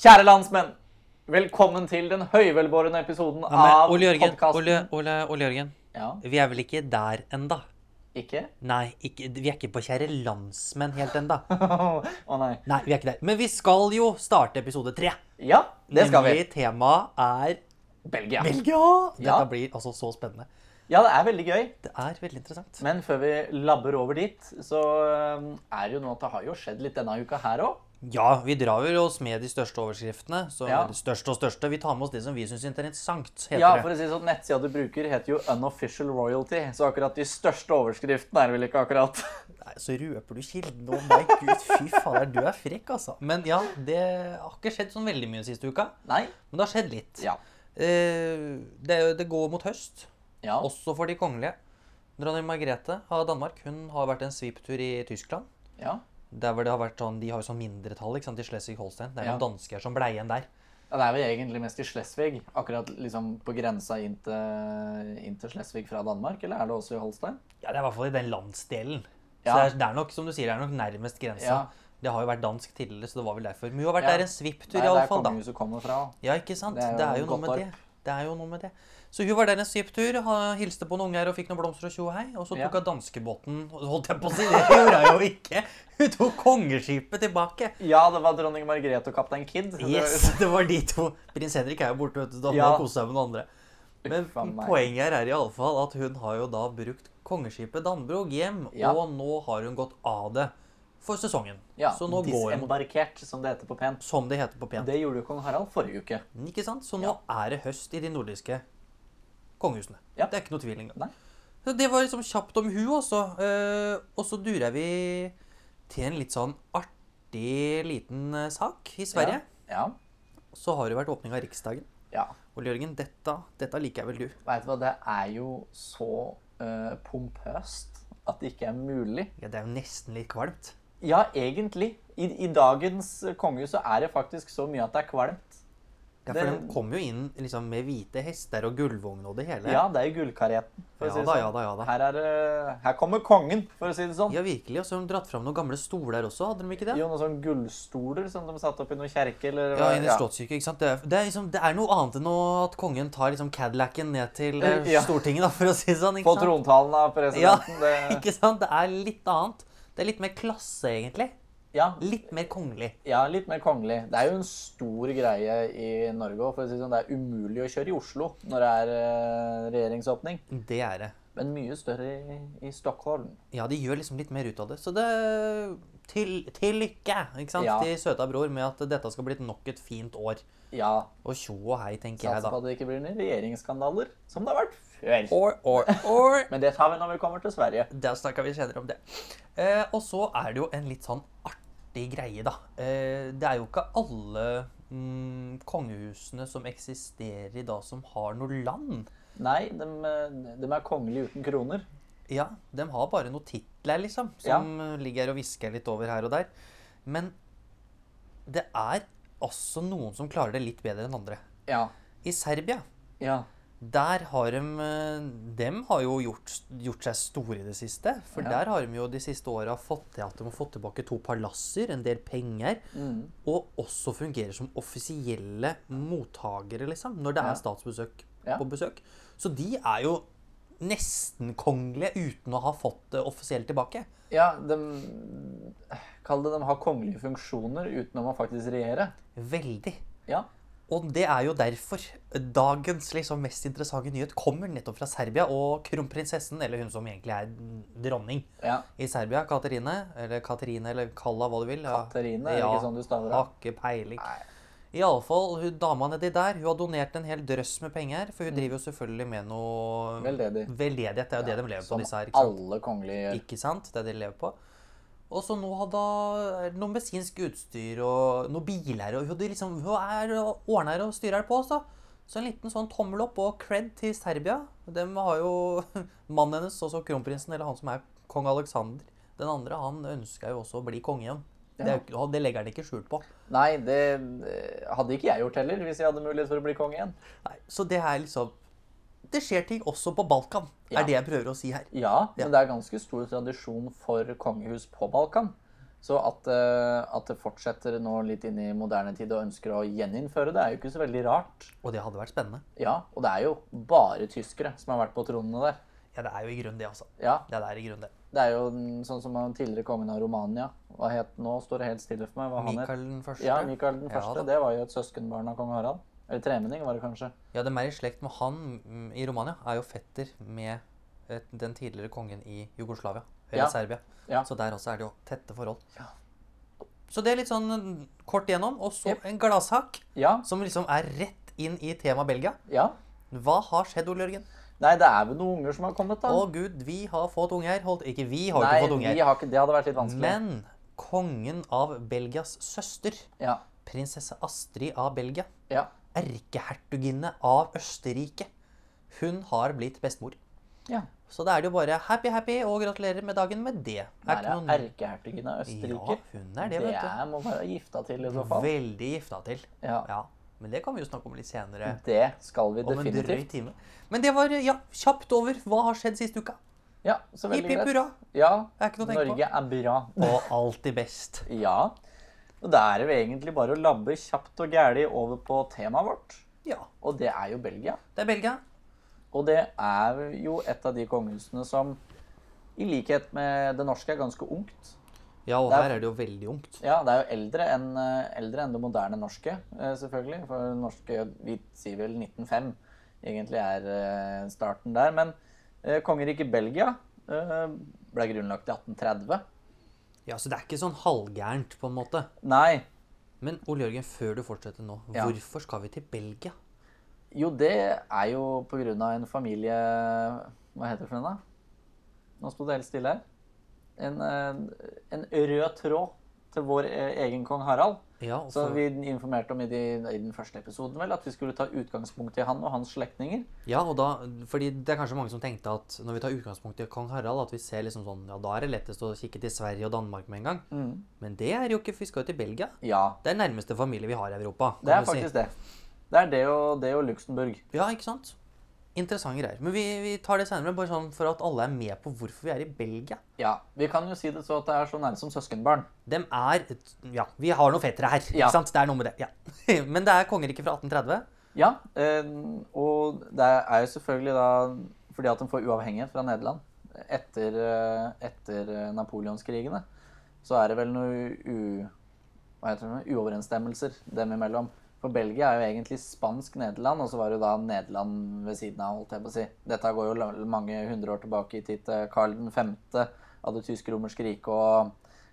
Kjære landsmenn, velkommen til den høyvelbårende episoden Ja, men av Ole Jørgen, podkasten. Ole, Ole, Ole Jørgen, Ja, vi er vel ikke der enda? ikke? Nei, ikke, vi er ikke på kjære landsmenn helt enda. Å nei. Nei, vi er ikke der. Men vi skal jo starte episode tre. Ja, det skal vi. Nemlig temaet er Belgia. Belgia. Dette Ja. blir altså så spennende. Ja, det er veldig gøy. Det er veldig interessant. Men før vi labber over dit, så øhm, er det jo nå at det har jo skjedd litt denne uka her òg. Ja, vi drar vel oss med de største overskriftene. Så Ja. det største og største. Vi tar med oss det som vi syns er interessant, heter Ja, for å det. si det sånn, nettsida du bruker, heter jo Unofficial Royalty, så akkurat de største overskriftene er det vel ikke akkurat. Nei, så røper du kilden. Å, nei, gud, fy fader, du er frekk, altså. Men ja, det har ikke skjedd sånn veldig mye siste uka. Nei. Men det har skjedd litt. Ja. Eh, det, er jo- det går mot høst, Ja. også for de kongelige. Dronning Margrethe av Danmark hun har vært en sviptur i Tyskland. ja. Der hvor det har vært sånn, De har jo sånn mindretall ikke sant, i Schleswig-Holstein. Det Ja. er noen dansker som blei igjen der. Ja, Det er vel egentlig mest i Schleswig, akkurat liksom på grensa inn til, inn til Schleswig fra Danmark, eller er det også i Holstein? Ja, Det er i hvert fall i den landsdelen. Så Ja. det, er, det er nok som du sier, det er nok nærmest grensa. Ja. Det har jo vært dansk tidligere, så det var vel derfor. Men hun har vært Ja. der en sviptur, Nei, det er iallfall. kongehuset kommer fra. Ja, ikke sant? Det er jo Det er jo noe godt med det. Det er jo noe med det. Så hun var der en sviptur, ha- hilste på noen unger og fikk noen blomster og tjo og hei. Og så Ja. tok hun danskebåten Holdt jeg på å si, det gjorde hun jo ikke! Hun tok kongeskipet tilbake. Ja, det var dronning Margrethe og kaptein Kid. Det var- Yes, det var de to. Prins Henrik er jo borte, vet du. Da må Ja. han kose seg med noen andre. Men Uff a meg. poenget her er iallfall at hun har jo da brukt kongeskipet Dannebrog hjem, Ja. og nå har hun gått av det for sesongen. Ja, så nå går hun, disembarkert, som det heter på pent. som det heter på pent. Det gjorde jo kong Harald forrige uke. Ikke sant? Så nå er det høst i de nordiske kongehusene. Ja. Det er ikke noe tvil engang. Nei. Så det var liksom kjapt om hun også. Eh, og så durer vi til en litt sånn artig liten eh, sak i Sverige. Ja. Så har det vært åpning av Riksdagen. ja. Ole Jørgen, dette, dette liker vel du? Veit du hva, det er jo så eh, pompøst at det ikke er mulig. Ja, Det er jo nesten litt kvalmt. Ja, egentlig. I, i dagens kongehus så er det faktisk så mye at det er kvalmt. Ja, for Det- Den kom jo inn liksom, med hvite hester og gullvogn og det hele. Ja, det er i gullkareten. for å Ja si det da, sånn. ja da, ja da. Her, er, det- her kommer kongen, for å si det sånn. Ja, virkelig. Og så har de dratt fram noen gamle stoler også, hadde de ikke det? Jo, noen sånne gullstoler som de satte opp i noen kjerke. Eller, Ja, inn i Slottskirken, eh, ikke sant? Det er, det, er liksom, det er noe annet enn å- at kongen tar liksom Cadillacen ned til eh, Ja. Stortinget, da, for å si det sånn. På Ikke sant? trontalen av Ja, presidenten. Det, ikke sant? Det er litt annet. Det er litt mer klasse, egentlig. ja, Litt mer kongelig. Ja, litt mer kongelig. Det er jo en stor greie i Norge òg. Si det sånn, det er umulig å kjøre i Oslo når det er eh, regjeringsåpning. Det er det. Men mye større i, i Stockholm. Ja, de gjør liksom litt mer ut av det. Så det til, til lykke ikke sant? Ja. til søta bror med at dette skal bli et nok et fint år. Ja. Og tjo og hei, tenker jeg Satser da. på at det ikke blir noen regjeringsskandaler, som det har vært før. Or, or, or. Men det tar vi når vi kommer til Sverige. Der snakker vi senere om det. Eh, og så er det jo en litt sånn artig greie, da. Eh, det er jo ikke alle mm, kongehusene som eksisterer i dag, som har noe land. Nei, de, er kongelige uten kroner. Ja, de har bare noen titler, liksom, som ligger her og hvisker litt over her og der. Men det er altså noen som klarer det litt bedre enn andre. Ja. I Serbia Ja. Der har de eh, Dem har jo gjort, gjort seg store i det siste. For Ja. der har de jo de siste åra fått til at de har fått tilbake to palasser, en del penger, Mm. og også fungerer som offisielle mottakere, liksom, når det Ja. er statsbesøk Ja. på besøk. Så de er jo nesten kongelige uten å ha fått det offisielt tilbake. ja de, kall det de har kongelige funksjoner uten å faktisk regjere. Veldig. Ja. Og det er jo derfor dagens liksom mest interessante nyhet kommer nettopp fra Serbia og kronprinsessen, eller hun som egentlig er dronning. ja. I Serbia, Katerine, eller Katerine, eller kalla hva du vil. ja. Katerine, er det ikke sånn du staver det? har ikke peiling. Iallfall, hun dama nedi der, hun har donert en hel drøss med penger, Mm. for hun driver jo selvfølgelig med noe Veldedig. Veldedighet, det er jo det de lever på, Som disse her. Ikke sant? alle kongelige gjør. ikke sant? Det er det de lever på. Og så nå hadde hun noe medisinsk utstyr og noen biler, og hun hadde liksom, hun er ordner og styrer på oss, da. Så en liten sånn tommel opp og cred til Serbia. De har jo mannen hennes, også kronprinsen, eller han som er kong Aleksander. Den andre, han ønska jo også å bli konge igjen. Det, er jo ikke- det legger han ikke skjult på. Nei, det eh, hadde ikke jeg gjort heller, hvis jeg hadde mulighet for å bli konge igjen. Nei, så det er liksom Det skjer ting også på Balkan, Ja. er det jeg prøver å si her. Ja, men det er ganske stor tradisjon for kongehus på Balkan. Så at, eh, at det fortsetter nå litt inn i moderne tid og ønsker å gjeninnføre det, er jo ikke så veldig rart. Og det hadde vært spennende. Ja, og det er jo bare tyskere som har vært på tronene der. Ja, det er jo i grunnen det, altså. Ja, Ja, det er i grunnen det. Det er jo den- sånn som han tidligere kongen av Romania. Hva het Nå står det helt stille for meg. Hva han het. Mikael den første. Ja, Mikael den Ja, første. da. det var jo et søskenbarn av kong Harald. Eller tremenning, var det kanskje. Ja, det mer i slekt med han mm, i Romania er jo fetter med eh, den tidligere kongen i Jugoslavia. Eller Ja. Serbia. Ja. Så der også er det jo tette forhold. Så det er litt sånn mm, kort gjennom. Og så en gladsak Ja. som liksom er rett inn i tema Belgia. ja. Hva har skjedd, Ole Jørgen? Nei, det er vel noen unger som har kommet, da. Å gud, vi har fått unger. Holdt, ikke vi har Nei, ikke fått vi unger. har ikke, det hadde vært litt vanskelig. Men kongen av Belgias søster, Ja. prinsesse Astrid av Belgia, ja. erkehertuginne av Østerrike, hun har blitt bestemor. ja. Så da er det jo bare happy, happy, og gratulerer med dagen med det. Der ikke er erkehertugen av Østerrike. Ja, hun er det, vet er, må være gifta til, i så du. fall. Veldig gifta til. Ja. Ja, Men det kan vi jo snakke om litt senere. Det skal vi Om en drøy Mm, definitivt. time. Men det var ja, kjapt over. Hva har skjedd siste uka? Ja, så veldig Hipp, hipp, greit. hurra. Ja, Det er ikke noe å tenke Norge er bra. Og alltid best. Ja. Og da er det jo egentlig bare å labbe kjapt og gæli over på temaet vårt. Ja. Og det er jo Belgia. Det er Belgia. Og det er jo et av de kongehusene som, i likhet med det norske, er ganske ungt. Ja, og Det er- her er det jo veldig ungt. Ja, det er jo eldre enn, eh, eldre enn det moderne norske, eh, selvfølgelig. For det norske, vi sier vel 1905, egentlig er eh, starten der. Men eh, kongeriket Belgia eh, ble grunnlagt i 1830. Ja, Så det er ikke sånn halvgærent, på en måte. Nei, Men Ole Jørgen, før du fortsetter nå, Ja. hvorfor skal vi til Belgia? Jo, det er jo på grunn av en familie Hva heter det for den, da? Nå sto det helt stille her. En, eh, en rød tråd til vår eh, egen kong Harald. Ja, og Så for, vi informerte om i, de, i den første episoden vel, at vi skulle ta utgangspunkt i han og hans slektninger. ja, og da, fordi det er kanskje mange som tenkte at når vi tar utgangspunkt i kong Harald, at vi ser liksom sånn, ja, da er det lettest å kikke til Sverige og Danmark med en gang. Men det er jo ikke, for vi skal jo til Belgia. Ja, Det er nærmeste familie vi har i Europa. det kan er du si. faktisk det. Det er det og, det og Luxembourg. Ja, ikke sant? Interessante greier. Men vi, vi tar det senere, bare sånn for at alle er med på hvorfor vi er i Belgia. Ja, Vi kan jo si det så at det er så nære som søskenbarn. Dem er et, Ja, vi har noen fettere her. Ja. Ikke sant? Det er noe med det. Ja. Men det er kongeriket fra 1830. Ja, eh, og det er jo selvfølgelig da fordi at de får uavhengighet fra Nederland etter, eh, etter eh, napoleonskrigene. Så er det vel noen u, hva heter det, for noe? uoverensstemmelser dem imellom. For Belgia er jo egentlig spansk Nederland, og så var det jo da Nederland ved siden av. holdt jeg på å si. Dette går jo la- mange hundre år tilbake i tid til Karl 5. av det tysk-romerske riket og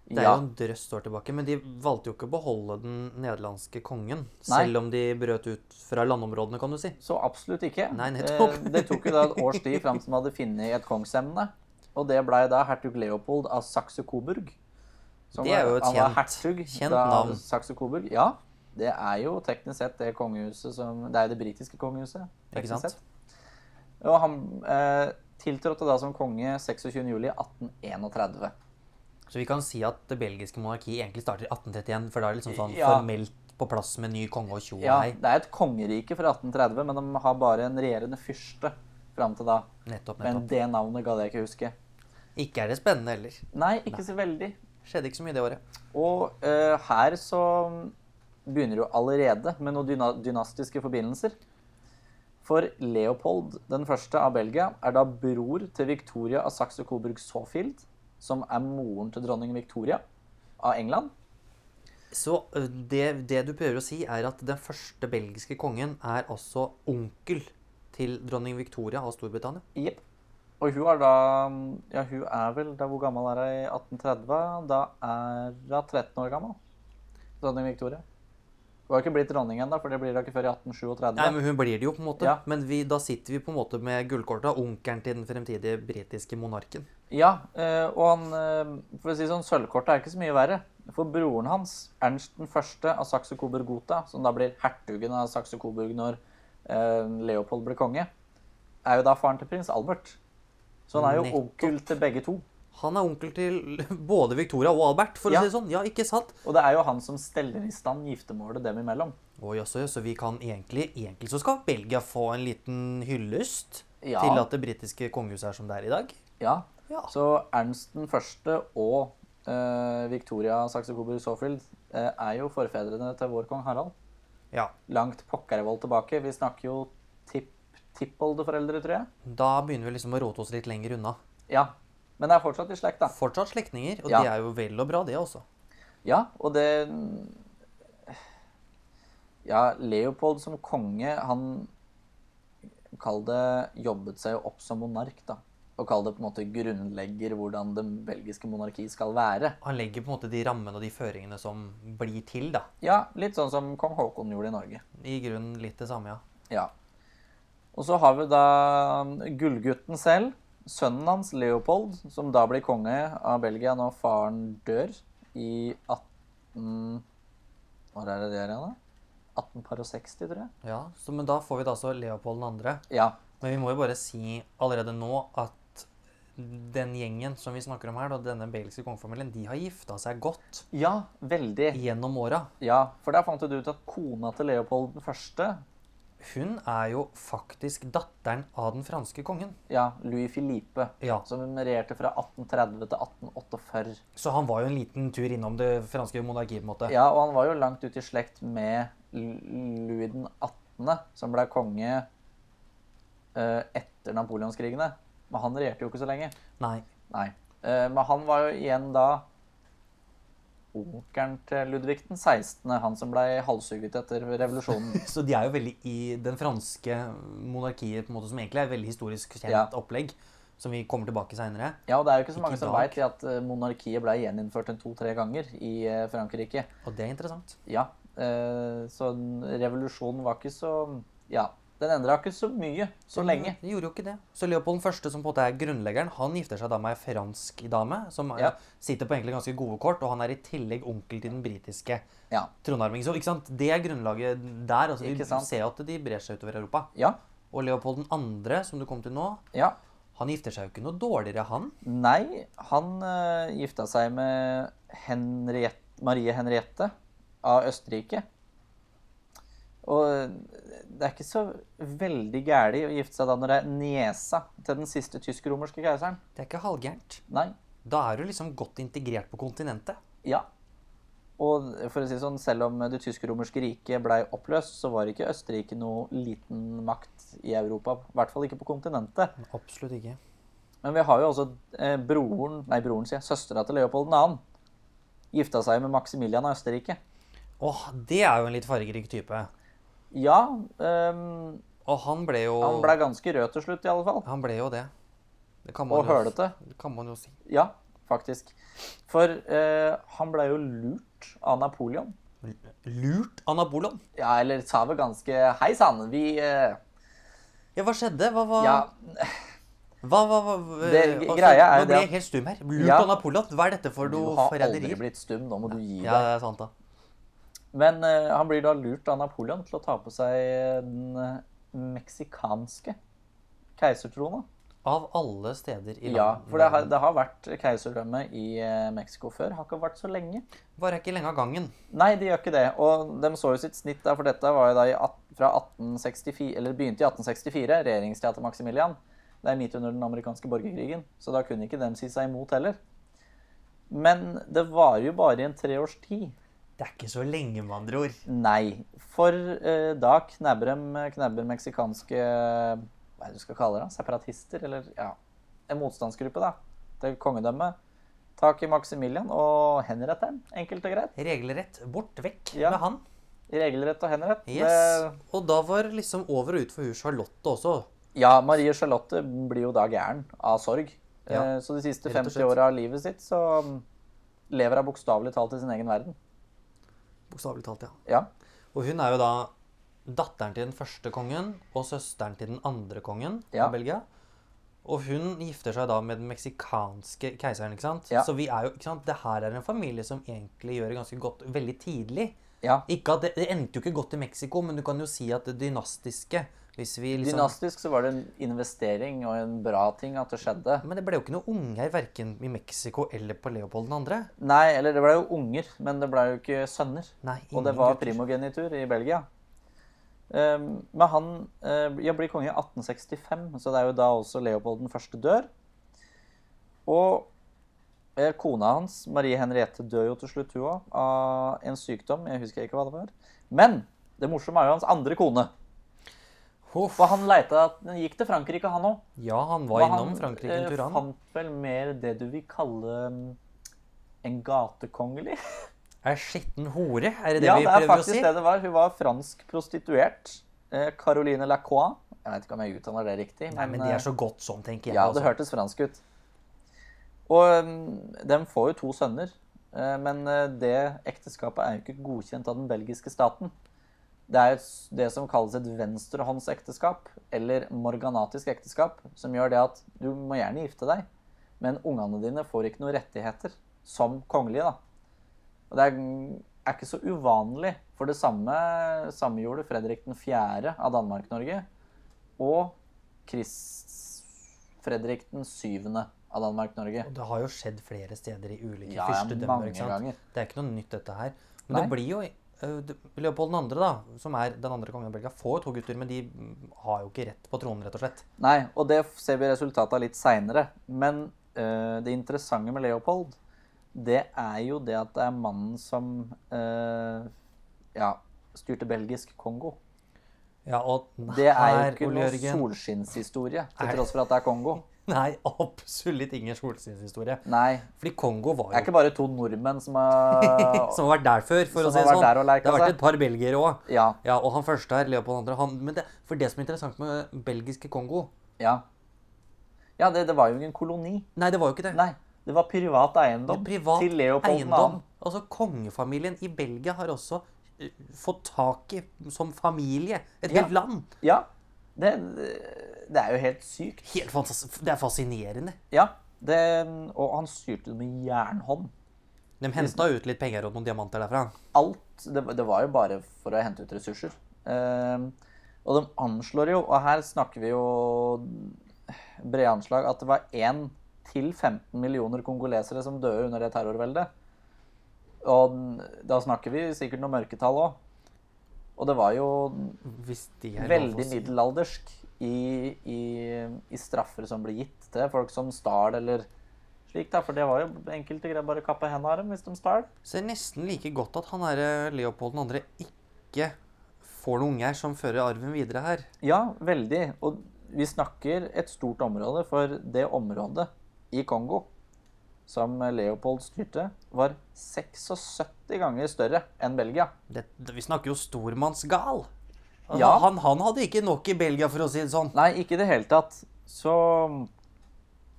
Det er ja, jo en drøss år tilbake, men de valgte jo ikke å beholde den nederlandske kongen. Nei. Selv om de brøt ut fra landområdene, kan du si. Så absolutt ikke. Nei, nettopp. Eh, det tok jo da et års tid fram til de hadde funnet et kongsemne. Og det blei da hertug Leopold av Sakse-Coburg. Som Det er jo var- et han var kjent- hertug kjent da av navn. Sakse-Coburg. Ja, det er jo teknisk sett det kongehuset som Det er jo det britiske kongehuset. Ikke teknisk sant? sett. Og han eh, tiltrådte da som konge 26.07.1831. Så vi kan si at det belgiske monarkiet egentlig starter i 1831, for da er det liksom sånn Ja. formelt på plass med ny konge og tjo og Ja, hei. det er et kongerike fra 1830, men de har bare en regjerende fyrste fram til da. Nettopp, Men nettopp. det navnet gadd jeg ikke huske. Ikke er det spennende heller. Nei, ikke så veldig. Skjedde ikke så mye det året. Og eh, her så begynner du allerede med noen dyna dynastiske forbindelser. For Leopold den første av Belgia er da bror til Victoria av Saxe-Coburg Sofield, som er moren til dronning Victoria av England. Så ø, det, det du prøver å si, er at den første belgiske kongen er altså onkel til dronning Victoria av Storbritannia. Jepp. Og hun er da Ja, hun er vel da Hvor gammel er hun i 1830? Da er hun 13 år gammel. Dronning Victoria. Hun har ikke blitt dronning ennå, for det blir hun ikke før i 1837. Nei, men Hun blir det jo, på en måte. Ja. Men vi, da sitter vi på en måte med gullkortet av onkelen til den fremtidige britiske monarken. Ja, eh, og han, eh, for å si det sånn, sølvkortet er ikke så mye verre. For broren hans, Ernst den første av Sakse-Coburg-Gotha, som da blir hertugen av Sakse-Coburg når eh, Leopold blir konge, er jo da faren til prins Albert. Så han er jo Nettopp. onkel til begge to. Han er onkel til både Victoria og Albert, for Ja. å si det sånn. Ja, ikke sant? Og det er jo han som steller i stand giftermålet dem imellom. Å, jaså, så vi kan egentlig Egentlig så skal Belgia få en liten hyllest Ja. til at det britiske kongehuset er som det er i dag. Ja. Ja. Så Ernst den første og eh, Victoria Saxe-Coburg Sawfield eh, er jo forfedrene til vår kong Harald. Ja. Langt pokkervold tilbake. Vi snakker jo tipp, tippoldeforeldre, tror jeg. Da begynner vi liksom å rote oss litt lenger unna. Ja. Men det er fortsatt i slekt, da. Fortsatt slektninger, og Ja. de er jo vel og bra, det også. Ja, og det Ja, Leopold som konge, han Kall det jobbet seg jo opp som monark, da. Og kall det på en måte grunnlegger hvordan det belgiske monarki skal være. Han legger på en måte de rammene og de føringene som blir til, da. Ja, litt sånn som kong Haakon gjorde i Norge. I grunnen litt det samme, ja. Ja. Og så har vi da gullgutten selv, sønnen hans Leopold, som da blir konge av Belgia når faren dør i 18... Når er det det er igjen, da? 1860, tror jeg. ja så, men da får vi da altså Leopold 2. Ja. Men vi må jo bare si allerede nå at den gjengen som vi snakker om her, da, denne belgiske kongefamilien, de har gifta seg godt ja, veldig. gjennom åra. Ja, for der fant jo du ut at kona til Leopold den første, Hun er jo faktisk datteren av den franske kongen. ja, Louis Philippe, Ja, som regjerte fra 1830 til 1848. Så han var jo en liten tur innom det franske monarkiet, på en måte. Ja, og han var jo langt ut i slekt med L- Louis den 18., som ble konge eh, etter napoleonskrigene. Men han regjerte jo ikke så lenge. Nei. Nei. Eh, men han var jo igjen da onkelen til Ludvig den 16., han som ble halshugget etter revolusjonen. Så de er jo veldig i den franske monarkiet, på en måte, som egentlig er et veldig historisk kjent Ja. opplegg, som vi kommer tilbake seinere. Ja, og det er jo ikke så mange Ikke som i dag. veit at eh, monarkiet ble gjeninnført en to-tre ganger i eh, Frankrike. Og det er interessant. Ja, eh, så den- revolusjonen var ikke så Ja, den endra ikke så mye så lenge. De gjorde jo ikke det. Så Leopold 1., som på en måte er grunnleggeren, han gifter seg da med ei fransk dame, som eh, Ja. sitter på egentlig ganske gode kort, og han er i tillegg onkel til den britiske Ja. tronarvingen. Så ikke sant? det er grunnlaget der. Altså, Ikke vi sant. ser jo at de brer seg utover Europa. Ja. Og Leopold 2., som du kom til nå, ja. han gifter seg jo ikke noe dårligere, han. Nei, han eh, gifta seg med Henriette, Marie Henriette av Østerrike. Og eh, det er ikke så veldig gæli å gifte seg da når det er niesa til den siste tysk-romerske keiseren. Det er ikke halvgærent. Nei. Da er du liksom godt integrert på kontinentet. Ja. Og for å si det sånn, selv om det tysk-romerske riket blei oppløst, så var ikke Østerrike noe liten makt i Europa. I hvert fall ikke på kontinentet. Absolutt ikke. Men vi har jo også eh, broren, nei broren sier, jeg, søstera til Leopold 2. Gifta seg med Maximilian av Østerrike. Åh, det er jo en litt fargerik type. Ja, ehm, Og han ble jo han ble ganske rød til slutt i alle fall. han ble jo det. Det kan man Og jo, hølete. det kan man jo si. Ja, faktisk. For eh, han ble jo lurt av Napoleon. Lurt av Napoleon? Ja, eller sa vel ganske Hei sann, vi eh, Ja, hva skjedde? Hva var Ja, hva, hva, hva, Det- hva- greia er Nå ble det at- jeg helt stum her. Lurt Ja. av Napoleon? Hva er dette for du noe har aldri forræderi? blitt stum, nå må du gi Ja, deg. det er sant, da. Men eh, han blir da lurt av Napoleon til å ta på seg den eh, meksikanske keisertrona. Av alle steder i Ja, landet. for det har, det har vært keiserdømme i eh, Mexico før. Har ikke vært så lenge. Bare ikke lenge av gangen. Nei, de gjør ikke det. Og de så jo sitt snitt der, for dette var jo da i, at- fra 1864, eller begynte i 1864, regjeringstida til Maximilian. Det er midt under den amerikanske borgerkrigen, så da kunne ikke dem si seg imot heller. Men det varer jo bare i en tre års tid. Det er ikke så lenge, med andre ord. Nei, for eh, da knebber de knebber meksikanske Hva er det du skal kalle det? da? Separatister? Eller ja, en motstandsgruppe da, til kongedømmet. Tak i Maximilian og henretter ham, enkelt og greit. Regelrett bort vekk Ja. med han. Regelrett og henrett. Yes. Og da var liksom over og ut for hun Charlotte også. Det- Ja, Marie Charlotte blir jo da gæren av sorg. Ja, Eh, Så de siste rett og 50 slett. åra av livet sitt så mm, lever hun bokstavelig talt i sin egen verden. Bokstavelig talt, ja. Ja. Og hun er jo da datteren til den første kongen og søsteren til den andre kongen Ja. i Belgia. Og hun gifter seg da med den meksikanske keiseren. ikke sant? Ja. Så vi er jo, ikke sant? det her er en familie som egentlig gjør det ganske godt veldig tidlig. ja. Ikke at det, det endte jo ikke godt i Mexico, men du kan jo si at det dynastiske hvis vi liksom... Dynastisk så var det en investering og en bra ting at det skjedde. Men det ble jo ikke noe unger verken i Mexico eller på Leopold 2. Nei, eller det ble jo unger, men det ble jo ikke sønner. Nei, Og det ingen var gutter. primogenitur i Belgia. Ehm, men han eh, ja, blir konge i 1865, så det er jo da også Leopold den første dør. Og Eh, Kona hans, Marie Henriette, dør jo til slutt, hun òg, av en sykdom. Jeg husker ikke hva det var. Men det morsomme er jo hans andre kone. Huff. For han leita, han gikk til Frankrike, han òg. Ja, han var innom Frankrike en tur, eh, han. fant vel mer det du vil kalle mm, en gatekongelig. Er skitten hore? Er det det Ja, vi det er prøver å si? faktisk det det var. Hun var fransk prostituert. Eh, Caroline Lacroix. Jeg vet ikke om jeg uttaler det riktig. eh, Nei, men de er så godt sånn, tenker jeg. Ja, altså. det hørtes fransk ut. Og mm, de får jo to sønner, eh, men eh, det ekteskapet er jo ikke godkjent av den belgiske staten. Det er jo s- det som kalles et venstrehåndsekteskap, eller morganatisk ekteskap, som gjør det at du må gjerne gifte deg, men ungene dine får ikke noen rettigheter som kongelige, da. Og det er, er ikke så uvanlig, for det samme, samme gjorde Fredrik 4. av Danmark-Norge, og Krist Fredrik den syvende av Danmark-Norge. Og altså. Det har jo skjedd flere steder i ulike Ja, ja, fyrstedømmer. mange ikke sant? ganger. Det er ikke noe nytt, dette her. Men Nei. det blir jo øh, det- Leopold 2., da, som er den andre kongen av Belgia, får jo to gutter, men de mm, har jo ikke rett på tronen, rett og slett. Nei, og det ser vi resultatet av litt seinere. Men eh, det interessante med Leopold, det er jo det at det er mannen som eh, ja, styrte belgisk Kongo. Ja, og Det er jo her, ikke Ole noe Jørgen solskinnshistorie, Er- til tross for at det er Kongo. Nei, absolutt ingen solskinnshistorie. Nei. Fordi Kongo var Det er jo ikke bare to nordmenn som har Som har vært der før, Som for å si har vært det sånn. der og Det leika har vært seg. et par belgiere òg. Ja. Ja, og han første her, Leopold 2. Han, men det, for det som er interessant med belgiske Kongo Ja, ja det, det var jo ingen koloni. Nei, det var jo ikke det. Nei. Det var privat eiendom privat til Leopold 2. eiendom. Altså Kongefamilien i Belgia har også eh, fått tak i, som familie, et Ja. helt land. Ja. Det, det er jo helt sykt. Helt fantastisk. Det er fascinerende. Ja. Det, og han styrte det med jernhånd. De henta ut litt penger og noen diamanter derfra. Alt det, var- det var jo bare for å hente ut ressurser. Ehm, og de anslår jo, og her snakker vi jo brede anslag, at det var 1 til 15 millioner kongolesere som døde under det terrorveldet. Og da snakker vi sikkert noen mørketall òg. Og det var jo Hvis de er lov å veldig si. middelaldersk i, i, i straffer som ble gitt til folk som stal eller slik, da. For det var jo enkelte greier bare å kappe hendene av dem hvis de stal. Så det er nesten like godt at han er eh, Leopold 2. ikke får noen unger som fører arven videre her. Ja, veldig. Og vi snakker et stort område, for det området i Kongo som Leopold styrte, var 76 ganger større enn Belgia. Det, det, vi snakker jo stormannsgal. Han, Ja. han, han hadde ikke nok i Belgia, for å si det sånn. Nei, ikke i det hele tatt. Så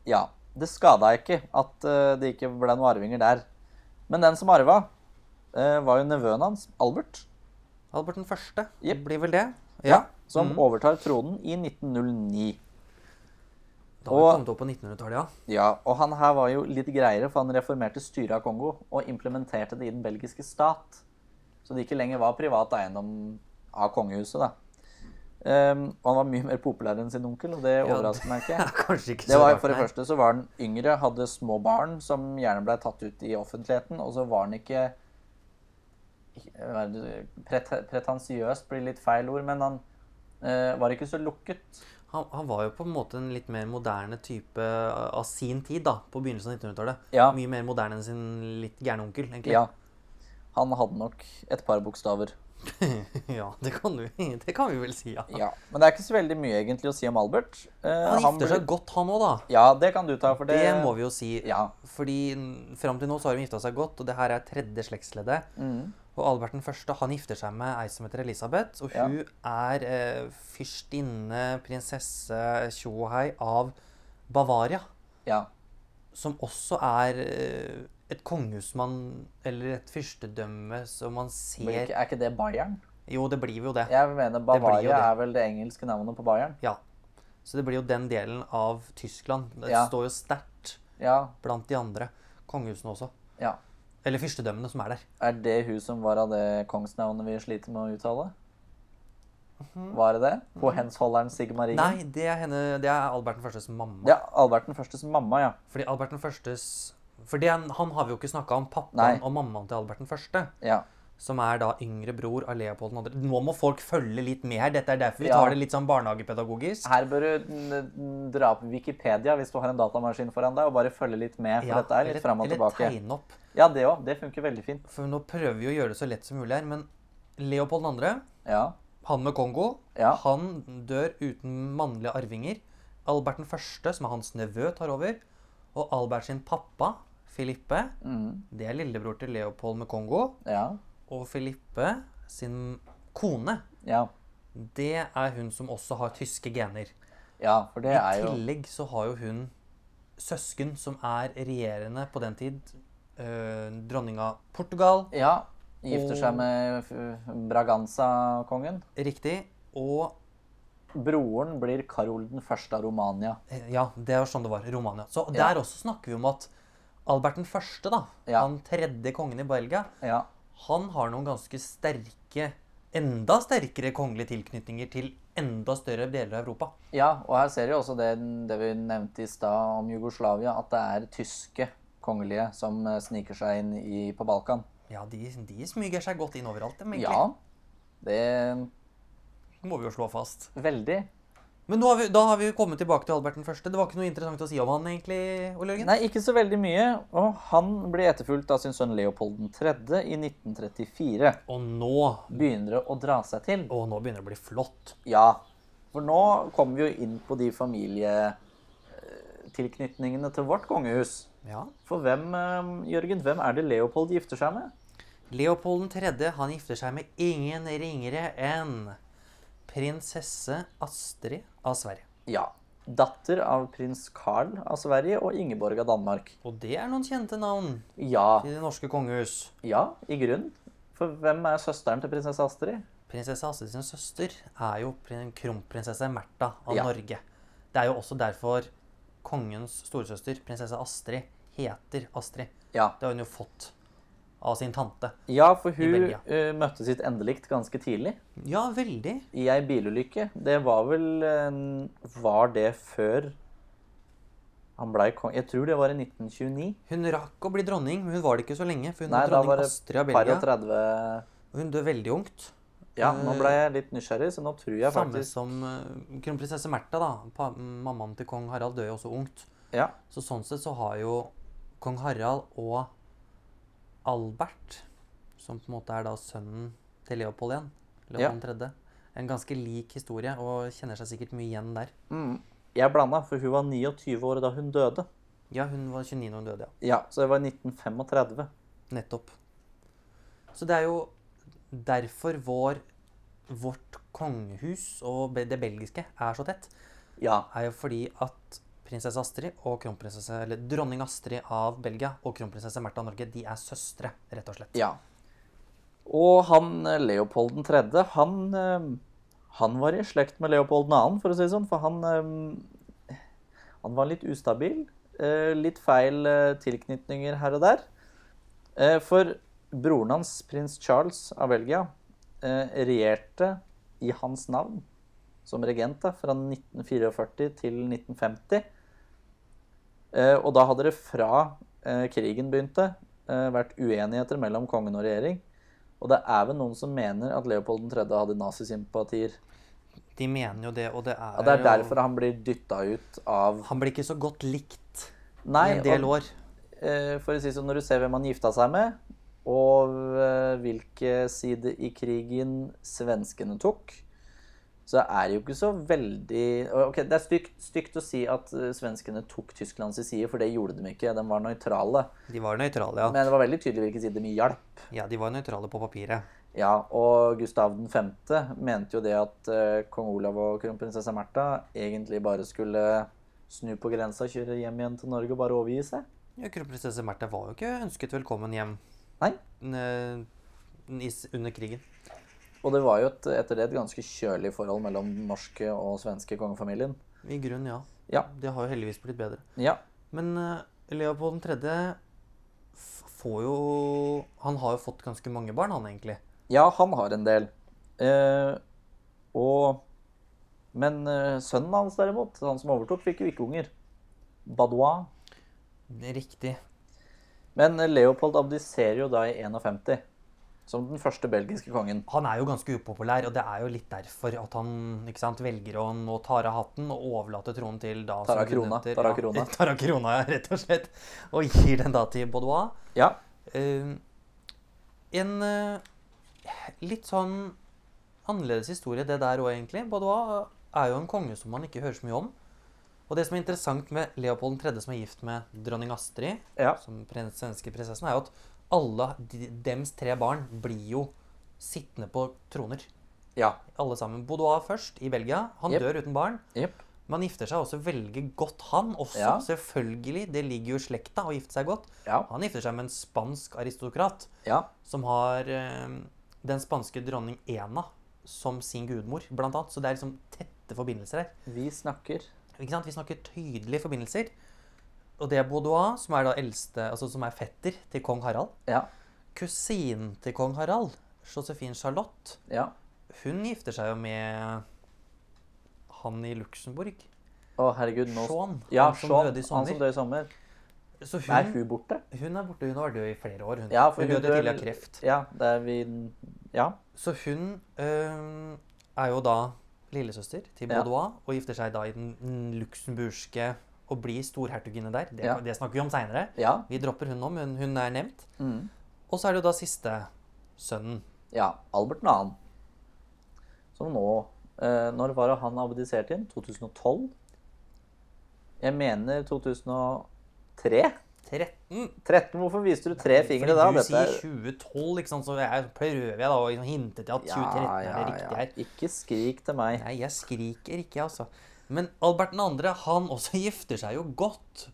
Ja. Det skada ikke at eh, det ikke ble noen arvinger der. Men den som arva, eh, var jo nevøen hans, Albert, Albert den første Jepp. blir vel det. Ja. som overtar tronen i 1909. Da har vi Og- kommet opp på 1900-tallet, ja. Ja, Og han her var jo litt greiere, for han reformerte styret av Kongo og implementerte det i den belgiske stat. Så det ikke lenger var privat eiendom av kongehuset, da. Ehm, og han var mye mer populær enn sin onkel, og det Ja, overrasker meg ikke. Det er Kanskje ikke Det så var rart, For det nei. første så var han yngre, hadde små barn som gjerne ble tatt ut i offentligheten, og så var han ikke hva er det- pret- Pretensiøs blir litt feil ord, men han eh, var ikke så lukket. Han, han var jo på en måte en litt mer moderne type eh, av sin tid, da, på begynnelsen av 1900-tallet. Ja. Mye mer moderne enn sin litt gærne onkel, egentlig. Ja. Han hadde nok et par bokstaver. Ja, det, kan du, det kan vi vel si, ja. Ja. Men det er ikke så veldig mye egentlig å si om Albert. Eh, Han gifter ble- seg godt, han òg, da. Ja, det kan du ta, for Det, det, må vi jo si. Ja. Fordi mm, fram til nå så har de gifta seg godt, og det her er tredje slektsleddet. Mm. Og Albert den første han gifter seg med ei som heter Elisabeth, og Ja. hun er eh, fyrstinne, prinsesse, tjo og hei av Bavaria. Ja. som også er eh, et kongehus man Eller et fyrstedømme som man Men ser ikke- Er ikke det Bayern? Jo, det blir jo det. Ja. Jeg mener blir jo Bavaria det. er vel det engelske navnet på Bayern. Så det blir jo den delen av Tyskland. Det Ja. står jo sterkt Ja. blant de andre kongehusene også. ja. Eller fyrstedømmene som er der. Er det hun som var av det kongsnavnet vi sliter med å uttale? Var det det? På hensholderen Sigmaringen? Mhm. Nei, det er, henne, det er Albert den førstes mamma. Det er Albert den førstes mamma, ja. Fordi Albert den førstes For det, han har vi jo ikke snakka om. Pappaen Nei. og mammaen til Albert den første. ja. som er da yngre bror av Leopold 2. Nå må folk følge litt med her. Dette er derfor vi Ja. tar det litt sånn barnehagepedagogisk. Her bør du n- n- dra opp Wikipedia hvis du har en datamaskin foran deg, og bare følge litt med, for Ja, dette er litt eller- fram og tilbake. Eller tegne opp. Ja, det òg. Det funker veldig fint. For nå prøver vi å gjøre det så lett som mulig her, men Leopold 2., Ja. han med Kongo, Ja. han dør uten mannlige arvinger. Albert 1., som er hans nevø, tar over. Og Albert sin pappa, Filippe, Mm. det er lillebror til Leopold med Kongo. Ja. Og Filippe sin kone, Ja. det er hun som også har tyske gener. ja, for det I er jo tillegg så har jo hun søsken som er regjerende på den tid. Eh, dronninga Portugal, Ja. Gifter Og- seg med f- Braganza-kongen. riktig. Og Broren blir Karol den første av Romania. eh, ja, det var sånn det var. Romania. Så Ja. der også snakker vi om at Albert den første, da, Ja. han tredje kongen i Belgia, Ja. han har noen ganske sterke, enda sterkere kongelige tilknytninger til enda større deler av Europa. Ja, og her ser vi også det, det vi nevnte i stad om Jugoslavia, at det er tyske kongelige som eh, sniker seg inn i, på Balkan. Ja, de, de smyger seg godt inn overalt, dem, egentlig. Ja, det er Må vi jo slå fast. veldig. Men nå har vi, da har vi jo kommet tilbake til Albert den første. Det var ikke noe interessant å si om han, egentlig, Ole Jørgen? Nei, ikke så veldig mye. Og han blir etterfulgt av sin sønn Leopold 3. i 1934. Og nå, Begynner det å dra seg til. og nå begynner det å bli flott. Ja, for nå kommer vi jo inn på de familietilknytningene til vårt kongehus. Ja. For hvem, eh, Jørgen, hvem er det Leopold gifter seg med? Leopold 3. han gifter seg med ingen ringere enn prinsesse Astrid av Sverige. Ja. Datter av prins Carl av Sverige og Ingeborg av Danmark. Og det er noen kjente navn Ja, i det norske kongehus. ja, i grunn. For hvem er søsteren til prinsesse Astrid? Prinsesse Astrid sin søster er jo prin- kronprinsesse Märtha av Ja. Norge. Det er jo også derfor kongens storesøster, prinsesse Astrid, heter Astrid. Ja, Det har hun jo fått av sin tante. ja for hun Belgia. eh, møtte sitt endelikt ganske tidlig. Ja, veldig. I ei bilulykke. Det var vel eh, Var det før han blei kong? Jeg tror det var i 1929. Hun rakk å bli dronning, men hun var det ikke så lenge. For hun Nei, var da dronning var det Astrid av par og Belgia. 30 og Hun døde veldig ungt. Ja, nå ble jeg litt nysgjerrig, så nå tror jeg Eh, Samme faktisk som eh, kronprinsesse Märtha, da. Pa, mammaen til kong Harald døde jo også ungt. Ja, Så sånn sett så har jo kong Harald og Albert, som på en måte er da sønnen til Leopold igjen, Leopold 3., en ganske lik historie og kjenner seg sikkert mye igjen der. jeg blanda, for hun var 29 år da hun døde. Ja, hun var 29 da hun døde, ja. Ja, Så det var i 1935. Nettopp. Så det er jo derfor vår, vårt kongehus og be- det belgiske er så tett. Ja. er jo fordi at prinsesse Astrid og kronprinsesse, eller dronning Astrid av Belgia og kronprinsesse Märtha av Norge, de er søstre, rett og slett. ja. Og han eh, Leopold 3., han, eh, han var i slekt med Leopold 2., for å si det sånn, for han eh, Han var litt ustabil. eh, Litt feil eh, tilknytninger her og der. Eh, For broren hans, prins Charles av Belgia, eh, regjerte i hans navn som regent da, fra 1944 til 1950. Eh, Og da hadde det fra eh, krigen begynte, eh, vært uenigheter mellom kongen og regjering. Og det er vel noen som mener at Leopold 3. hadde nazisympatier. De mener jo det, og det er, Ja, det er jo- derfor han blir dytta ut av Han blir ikke så godt likt Nei, i en del og, år. eh, for å si det sånn, når du ser hvem han gifta seg med, og eh, hvilke side i krigen svenskene tok, så er det jo ikke så veldig Ok, det er stygt, stygt å si at eh, svenskene tok Tysklands side, for det gjorde de ikke. De var nøytrale. De var nøytrale, ja. Men det var veldig tydelig hvilken side de hjalp. Ja, de var nøytrale på papiret. Ja, og Gustav 5. mente jo det at eh, kong Olav og kronprinsesse Märtha egentlig bare skulle snu på grensa, kjøre hjem igjen til Norge og bare overgi seg. Ja, kronprinsesse Märtha var jo ikke ønsket velkommen hjem Nei. eh, i- under krigen. Og det var jo et, etter det et ganske kjølig forhold mellom den norske og svenske kongefamilien. I grunnen, ja. Ja. Det har jo heldigvis blitt bedre. Ja. Men eh, Leopold 3. får jo Han har jo fått ganske mange barn, han egentlig. Ja, han har en del. Eh, og Men eh, sønnen hans, derimot, han som overtok, fikk jo ikke unger. Badois. Riktig. Men eh, Leopold abdiserer jo da i 51. som den første belgiske kongen. Han er jo ganske upopulær, og det er jo litt derfor at han ikke sant, velger å nå tare hatten og overlate tronen til da Tara som du Krona, nevnte- Tara Krona. Ja, Tara Krona, ja, rett og slett. Og gir den da til Baudois. Ja. Eh, en eh, litt sånn annerledes historie, det der òg, egentlig. Baudois er jo en konge som man ikke hører så mye om. Og det som er interessant med Leopold 3., som er gift med dronning Astrid, ja. som prins- svenske prinsessen, er jo at alle de- dems tre barn blir jo sittende på troner. Ja. Alle sammen. Boudoir først, i Belgia. Han Jep. dør uten barn. Jepp. Man gifter seg også veldig godt, han også. Ja. Selvfølgelig. Det ligger jo i slekta å gifte seg godt. Ja. Han gifter seg med en spansk aristokrat Ja. som har eh, den spanske dronning Ena som sin gudmor, blant annet. Så det er liksom tette forbindelser her. Vi snakker Ikke sant? Vi snakker tydelige forbindelser. Og det er Baudois, som er da eldste, altså som er fetter til kong Harald. Ja. Kusinen til kong Harald, Josefine Charlotte, Ja. hun gifter seg jo med han i Luxembourg. Å, herregud, nå Sean, Ja, han som Sean, døde i Han som sommer. døde i sommer. Så Er hun, hun borte? hun er borte. Hun har vært død i flere år. Hun, Ja, for hun hun døde dør- tidlig av kreft. Ja, det er vi Ja. Så hun øhm, er jo da lillesøster til Ja. Baudois og gifter seg da i den mm, luxemburgske og blir storhertuginne der. Det, Ja. det snakker vi om seinere. Ja. Vi dropper hun nå, men hun er nevnt. Mm. Og så er det jo da siste sønnen. ja. Albert 2. Som nå eh, Når var det han abdiserte inn? 2012? Jeg mener 2003? 13. 13? Hvorfor viste du tre fingre da? Fordi du Dette er- sier 2012, liksom, så jeg prøver jeg da å liksom hinte til at 2013 er det riktige her. Ikke skrik til meg. Nei, jeg skriker ikke, altså. Men Albert 2., han også gifter seg jo godt.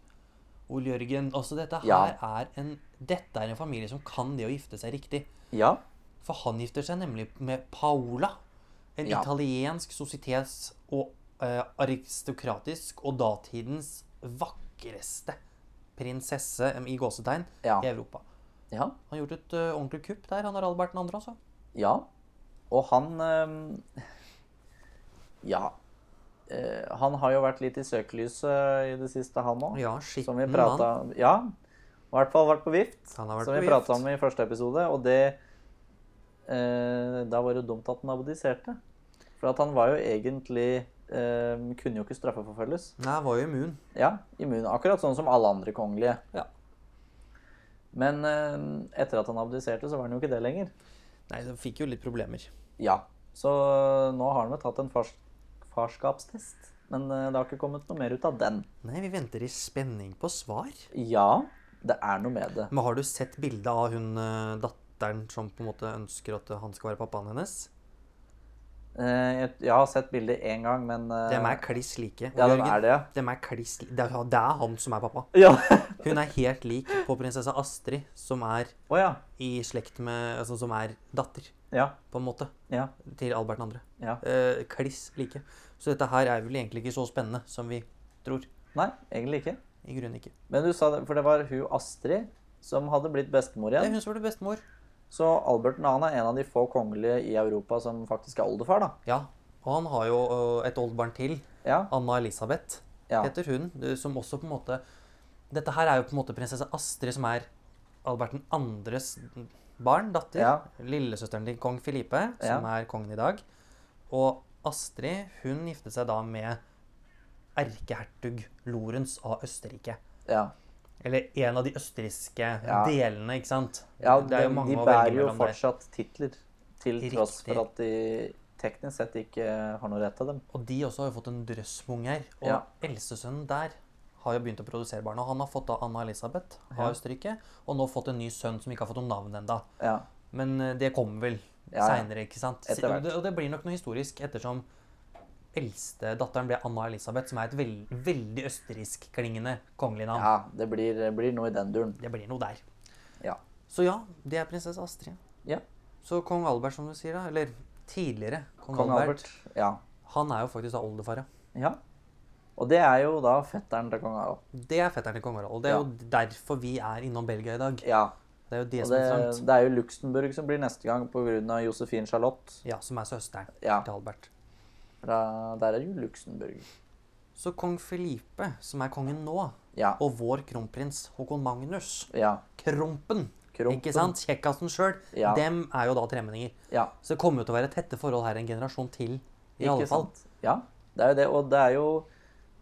Ole Jørgen, også dette her Ja. er en Dette er en familie som kan det å gifte seg riktig. Ja. For han gifter seg nemlig med Paola. En Ja. italiensk sosietets og eh, aristokratisk og datidens vakreste prinsesse em, i gåsetegn Ja. i Europa. Ja. Han har gjort et eh, ordentlig kupp der, han har Albert 2., altså. Ja. Og han eh, Ja. Eh, Han har jo vært litt i søkelyset i det siste, han òg. Ja, som vi skitten mann. prata om. Ja. I hvert fall vært på vift. Han har vært som på vi vift. prata om i første episode. Og det eh, Da var det dumt at han abdiserte. For at han var jo egentlig eh, Kunne jo ikke straffeforfølges. Nei, var jo immun. Ja, immun. Akkurat sånn som alle andre kongelige. Ja. Men eh, etter at han abdiserte, så var han jo ikke det lenger. Nei, så fikk jo litt problemer. Ja. Så øh, nå har han vel tatt en fars farskapstest. Men eh, det har ikke kommet noe mer ut av den. Nei, vi venter i spenning på svar. Ja, det er noe med det. Men har du sett bildet av hun eh, datteren som på en måte ønsker at han skal være pappaen hennes? Eh, jeg, jeg har sett bildet én gang, men eh, Dem er kliss like. Ja, den Ole Jørgen. er det, ja. Dem er kliss li- det, er, det er han som er pappa. Ja. Hun er helt lik på prinsesse Astrid, som er Å ja. i slekt med Altså som er datter, Ja. på en måte, Ja. til Albert 2. ja. Eh, kliss like. Så dette her er vel egentlig ikke så spennende som vi tror. Nei, egentlig ikke. I grunnen ikke. Men du sa det, for det var hun Astrid som hadde blitt bestemor Det er igjen. hun som ble bestemor. Så Albert 2. er en av de få kongelige i Europa som faktisk er oldefar, da. Ja. Og han har jo eh, et oldebarn til. Ja. Anna Elisabeth Ja. heter hun, eh, som også på en måte Dette her er jo på en måte prinsesse Astrid, som er Albert 2.s barn, datter. Ja. Lillesøsteren til kong Filipe, som er kongen i dag. Og Astrid hun giftet seg da med erkehertug Lorentz av Østerrike. ja. Eller en av de østerrikske Ja. delene, ikke sant? Ja, Det er jo de- mange de å bærer velge jo mellom der. fortsatt titler, til tross Riktig. for at de teknisk sett ikke har noe rett av dem. Og de også har jo fått en drøss med unger. Og Ja. eldstesønnen der har jo begynt å produsere barn. Og han har fått da Anna Elisabeth av Ja. Østerrike, og nå fått en ny sønn som ikke har fått noe navn ennå. Ja, Men eh, det kommer vel Ja, ja. seinere, ikke sant? Etter hvert. Og det, og det blir nok noe historisk ettersom eldstedatteren ble Anna Elisabeth, som er et veld, veldig østerriksk-klingende kongelig navn. ja det blir, blir noe i den duren. Det blir noe der. Ja. Så ja, det er prinsesse Astrid. ja. Så kong Albert, som du sier, da. Eller tidligere kong, Kong Albert, Albert. Ja. Han er jo faktisk da oldefar, ja. ja. Og det er jo da fetteren til kong Harald. Det er fetteren til kong Harald. og Det er jo derfor vi er innom Belgia i dag. Ja. Det er jo det Og som det, er interessant. det er jo Luxembourg som blir neste gang pga. Josefine Charlotte. Ja, som er søsteren Ja. til Albert. Fra, der er jo Luxembourg. Så kong Felipe, som er kongen nå, Ja. og vår kronprins Håkon Magnus, Ja. Krompen, Krompen. Ikke sant? Kjekkasen sjøl. Ja. Dem er jo da tremenninger. Ja, Så det kommer jo til å være tette forhold her en generasjon til. I ikke alle fall. sant? Ja, det er jo det. Og det er jo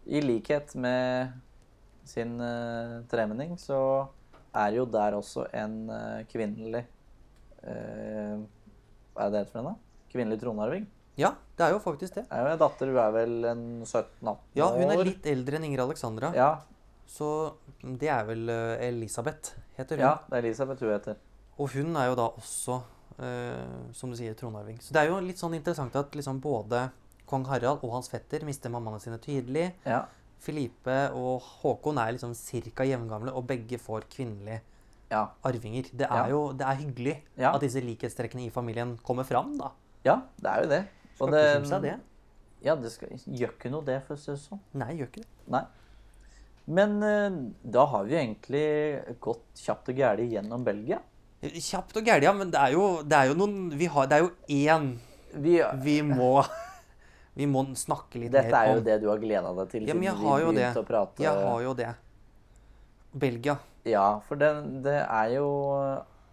i likhet med sin eh, tremenning, så er jo der også en eh, kvinnelig eh, Hva er det det heter for henne? Kvinnelig tronarving. Ja, det er jo faktisk det. Det er jo en datter, hun er vel en 17-18 år. Ja, hun er litt eldre enn Ingrid Alexandra, ja, så det er vel eh, Elisabeth, heter hun. ja, det er Elisabeth hun heter. Og hun er jo da også, eh, som du sier, tronarving. Så det er jo litt sånn interessant at liksom både kong Harald og hans fetter mister mammaene sine tidlig. Ja, Filipe og Håkon er liksom cirka jevngamle, og begge får kvinnelige ja, arvinger. Det Ja. er jo det er hyggelig Ja. at disse likhetstrekkene i familien kommer fram, da. ja det er jo det. Og Skal ikke kimse av det. Ja, det skal, gjør ikke noe det, for å si det sånn. Nei, gjør ikke det. Nei. Men eh, da har vi jo egentlig gått kjapt og gærent gjennom Belgia. Kjapt og gæli, ja, men det er jo, det er jo noen vi har, Det er jo én Vi, vi må Vi må snakke litt dette er mer jo om det du har gleda deg til Ja, men jeg vi har jo det. begynte å prate. Jeg har jo det. Belgia. Ja, for det, det er jo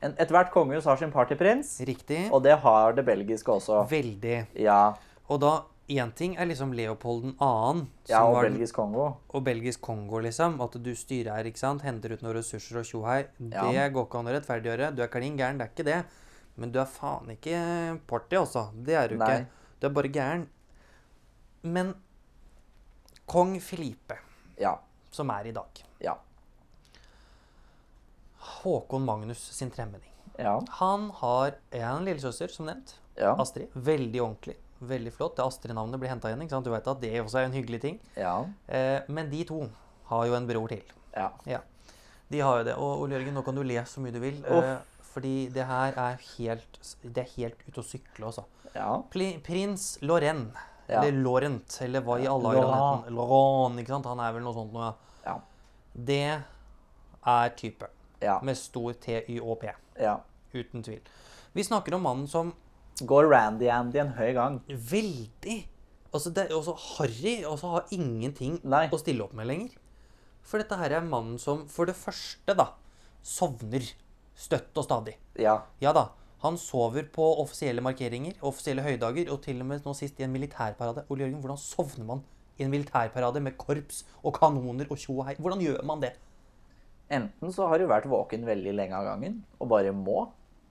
en- Ethvert kongehus har sin partyprins, Riktig. og det har det belgiske også. Veldig. Ja, Og da én ting er liksom Leopold 2., som ja og var den- belgisk Kongo. og belgisk Kongo, liksom. At du styrer her, ikke sant. Henter ut noen ressurser og tjohei. Ja. Det går ikke an å rettferdiggjøre. Du er klin gæren, det er ikke det. Men du er faen ikke party, altså. Det er du Nei. ikke. Du er bare gæren. Men kong Filipe, Ja. som er i dag Ja. Håkon Magnus sin tremenning. Ja. Han har en lillesøster, som nevnt. Ja. Astrid. Veldig ordentlig. Veldig flott. Det Astrid-navnet blir henta igjen. ikke sant? Du vet at det også er en hyggelig ting. Ja. Eh, men de to har jo en bror til. ja. Ja. De har jo det. Og Ole Jørgen, nå kan du le så mye du vil. Eh, fordi det her er helt Det er helt ute å sykle, altså. ja. Pli, prins Lorraine. Ja. Eller Laurent, eller hva i alle dager han Laurent. heter. Laurent, ikke sant? Han er vel noe sånt noe. ja. Ja. Det er type. Ja. Med stor T-Y-O-P. ja. Uten tvil. Vi snakker om mannen som Går Randy-Andy en høy gang? Veldig. Altså, det er også harry og så har ingenting Nei. å stille opp med lenger. For dette her er mannen som for det første da, sovner støtt og stadig. Ja. Ja da, han sover på offisielle markeringer, offisielle høydager, og til og med nå sist i en militærparade. Ole Jørgen, hvordan sovner man i en militærparade med korps og kanoner og tjo og hei? Hvordan gjør man det? Enten så har du vært våken veldig lenge av gangen og bare må,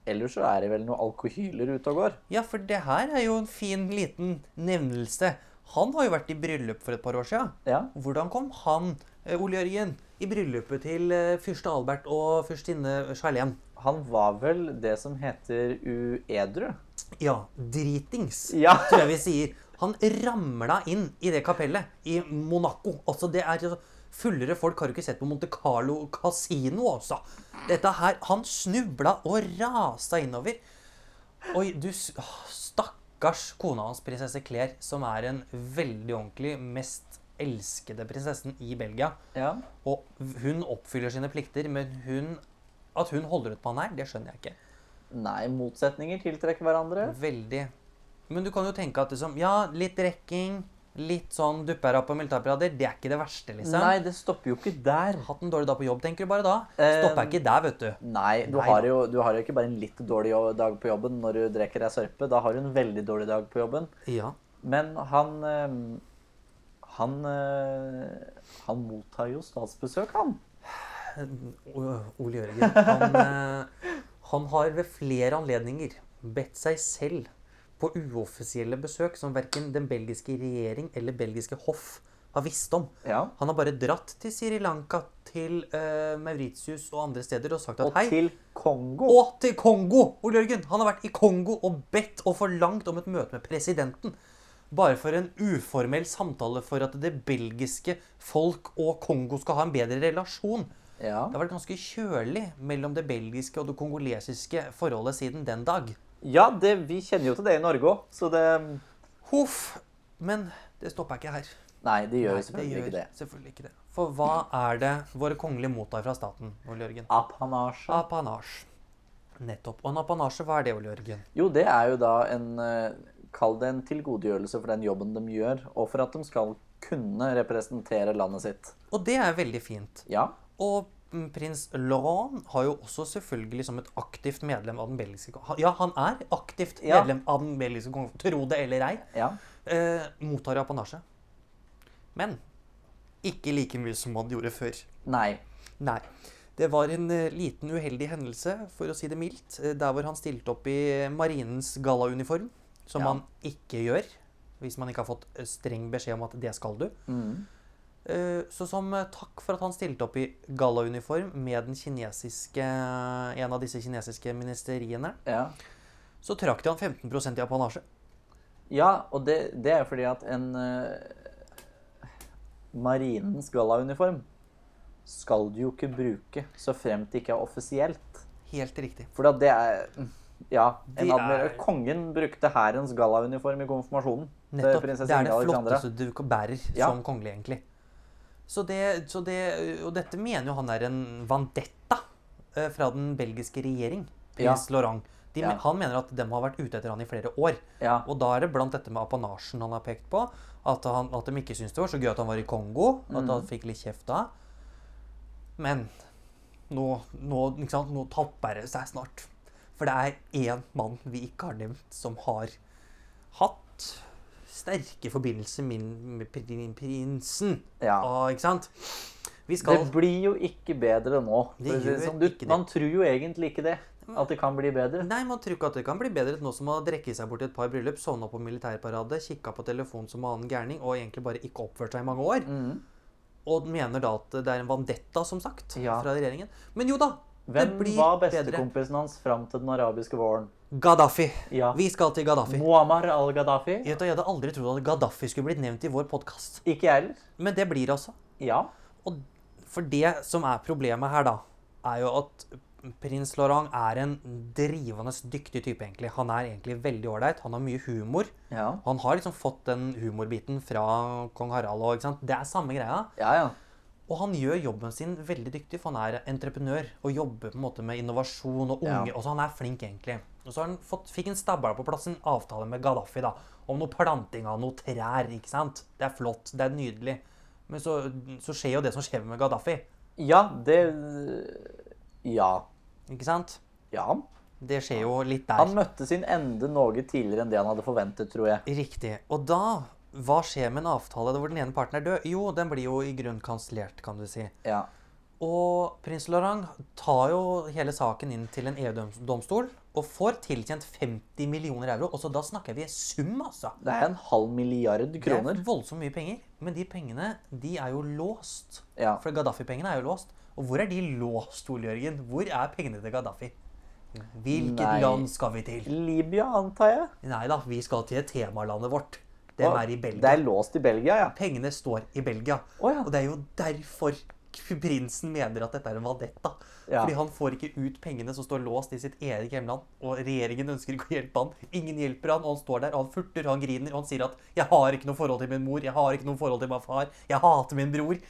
eller så er det vel noen alkohyler ute og går. Ja, for det her er jo en fin liten nevnelse. Han har jo vært i bryllup for et par år siden. Ja. Hvordan kom han, eh, Ole Jørgen, i bryllupet til eh, fyrste Albert og fyrstinne Charlene? Han var vel det som heter uedru. Ja, dritings, Ja. tror jeg vi sier. Han ramla inn i det kapellet i Monaco. Altså, det er altså, Fullere folk har du ikke sett på Monte Carlo kasino, altså. Dette her Han snubla og rasa innover. Oi, du s- åh, Stakkars kona hans, prinsesse Claire, som er en veldig ordentlig, mest elskede prinsessen i Belgia. Ja. Og hun oppfyller sine plikter, men hun, at hun holder ut på han her, det skjønner jeg ikke. Nei, motsetninger tiltrekker hverandre. Veldig. Men du kan jo tenke at liksom, ja, litt rekking, litt sånn dupper opp på militærparader, det er ikke det verste, liksom. Nei, det stopper jo ikke der. Hatt en dårlig dag på jobb, tenker du bare da. Eh, Stopper ikke der, vet du. Nei, du Nei har, da. jo, du har jo ikke bare en litt dårlig jo- dag på jobben når du drikker deg sørpe. Da har du en veldig dårlig dag på jobben. Ja. Men han eh, Han eh, Han mottar jo statsbesøk, han. Eh, O- Ole Jørgen, han, eh, han har ved flere anledninger bedt seg selv på uoffisielle besøk som verken den belgiske regjering eller belgiske hoff har visst om. Ja. Han har bare dratt til Sri Lanka, til eh, Mauritius og andre steder og sagt at Og hei. til Kongo. Og til Kongo! Ole Jørgen! Han har vært i Kongo og bedt og forlangt om et møte med presidenten. Bare for en uformell samtale for at det belgiske folk og Kongo skal ha en bedre relasjon. Ja. Det har vært ganske kjølig mellom det belgiske og det kongolesiske forholdet siden den dag. Ja, det, vi kjenner jo til det i Norge òg, så det ehm, Huff! Men det stopper ikke her. Nei, de gjør jo Det selvfølgelig gjør ikke det. selvfølgelig ikke det. For hva er det våre kongelige mottar fra staten, Ole Jørgen? Apanasje. Apanasje. Nettopp. Og en apanasje, hva er det, Ole Jørgen? Jo, det er jo da en eh, Kall det en tilgodegjørelse for den jobben de gjør, og for at de skal kunne representere landet sitt. Og det er veldig fint. Ja. Og Mm, Prins Laurent har jo også selvfølgelig som et aktivt medlem av den belgiske kong- Ja, han er aktivt Ja. medlem av den belgiske kongen, tro det eller ei. Ja. Eh, mottar apanasje. Men ikke like mye som han gjorde før. Nei. Nei. Det var en eh, liten uheldig hendelse, for å si det mildt, eh, der hvor han stilte opp i marinens gallauniform, som Ja. man ikke gjør hvis man ikke har fått eh, streng beskjed om at det skal du. Mm. Eh, Så som eh, takk for at han stilte opp i gallauniform med den kinesiske, eh, en av disse kinesiske ministeriene, Ja. så trakk de han 15 i apanasje. ja, og det, det er jo fordi at en eh, Marinens gallauniform skal du jo ikke bruke så fremt det ikke er offisielt. Helt riktig. For at det er mm, Ja. En Det admiral, er- Kongen brukte hærens gallauniform i konfirmasjonen. til Nettopp. Det prinsesse er det Ingrid Alexandra. flotteste du k- bærer Ja. som kongelig, egentlig. Så det, så det, og dette mener jo han er en vandetta eh, fra den belgiske regjering, prins Laurent. De, Ja. Han mener at dem har vært ute etter han i flere år. Ja. Og da er det blant dette med apanasjen han har pekt på. At, han, at de ikke syntes det var så gøy at han var i Kongo. At Mm. han fikk litt kjeft da. Men nå, nå, ikke sant? nå tapper det seg snart. For det er én mann vi ikke har nevnt, som har hatt sterke forbindelser min- med prin- prinsen. Ja. Og, ikke sant? Vi skal Det blir jo ikke bedre nå. Det for å si gjør det sånn. du, ikke det. Man tror jo egentlig ikke det. At det kan bli bedre. Nei, man tror ikke at det kan bli bedre nå som har drukket seg bort i et par bryllup, sovna på militærparade, kikka på telefon som annen gærning og egentlig bare ikke oppført seg i mange år. Og mener da at det er en vandetta, som sagt, Mm. Ja. fra regjeringen. Men jo da, Hvem det blir var bedre. bestekompisen hans fram til den arabiske våren? Gaddafi. Ja. Vi skal til Gaddafi. Muammar al-Gaddafi? Jeg vet, jeg hadde aldri trodd at Gaddafi skulle blitt nevnt i vår podkast, Ikke jeg heller. men det blir altså. Ja. Og for det som er problemet her, da, er jo at prins Laurent er en drivende dyktig type, egentlig. Han er egentlig veldig ålreit. Han har mye humor. Ja. Han har liksom fått den humorbiten fra kong Harald. Og, ikke sant? Det er samme greia. Ja, ja. Og han gjør jobben sin veldig dyktig, for han er entreprenør og jobber på en måte med innovasjon og unge. Ja. Og så han er flink, egentlig. Og så har han fått, fikk han stabla på plass en avtale med Gaddafi da, om noe planting av noen trær. ikke sant? Det er flott, det er nydelig. Men så, så skjer jo det som skjer med Gaddafi. Ja, det Ja. ikke sant? Ja. Det skjer jo litt der. Han møtte sin ende noe tidligere enn det han hadde forventet, tror jeg. Riktig. Og da, hva skjer med en avtale hvor den ene parten er død? Jo, den blir jo i grunnen kansellert, kan du si. Ja. Og prins Laurent tar jo hele saken inn til en EU-domstol og får tilkjent 50 millioner euro. Og så da snakker vi sum, altså. Det er en halv milliard Det kroner. er voldsomt mye penger. Men de pengene de er jo låst. Ja. For Gaddafi-pengene er jo låst. Og hvor er de låst, Ole Jørgen? Hvor er pengene til Gaddafi? Hvilket Nei. land skal vi til? Libya, antar jeg. Nei da, vi skal til temalandet vårt. Dem Å, er i Det Belgia. er låst i Belgia, ja. Pengene står i Belgia. Å ja. Og det er jo derfor prinsen mener at dette er en vadetta. Ja. Fordi han får ikke ut pengene som står låst i sitt eget hjemland. Og regjeringen ønsker ikke å hjelpe han. Ingen hjelper han, og han står der, og han furter, han griner, og han sier at 'jeg har ikke noe forhold til min mor', 'jeg har ikke noe forhold til min far', 'jeg hater min bror'.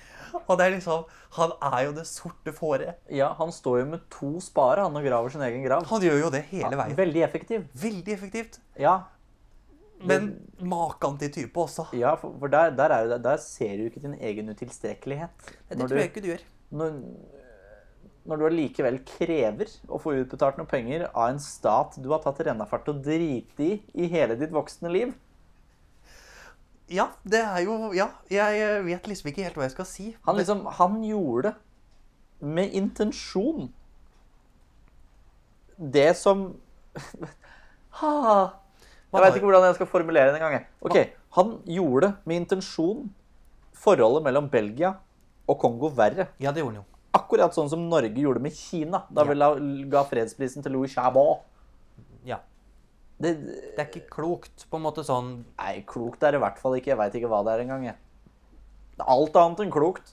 Og det er liksom Han er jo det sorte fåret. Ja, Han står jo med to sparer han og graver sin egen grav. Han gjør jo det hele veien. Veldig effektiv. Veldig effektivt. Ja, Men makan til type også. ja for, for der, der, er, det- der ser du ikke din egen utilstrekkelighet. Det Når tror jeg du, ikke du gjør. når, når du allikevel krever å få utbetalt noen penger av en stat du har tatt rennafart og driti i i hele ditt voksne liv. Ja, det er jo Ja, jeg vet liksom ikke helt hva jeg skal si. Han, liksom, han gjorde det med intensjon. Det som ha, Jeg har veit ikke hvordan jeg skal formulere det engang. jeg. Ok, Han gjorde det med intensjon forholdet mellom Belgia og Kongo verre. Ja, det gjorde han jo. Akkurat sånn som Norge gjorde med Kina da vi la, ga fredsprisen til Louis Chabot. Ja. Det, Det er ikke klokt, på en måte sånn nei, klokt er det i hvert fall ikke. Jeg veit ikke hva det er engang. jeg. Det er alt annet enn klokt.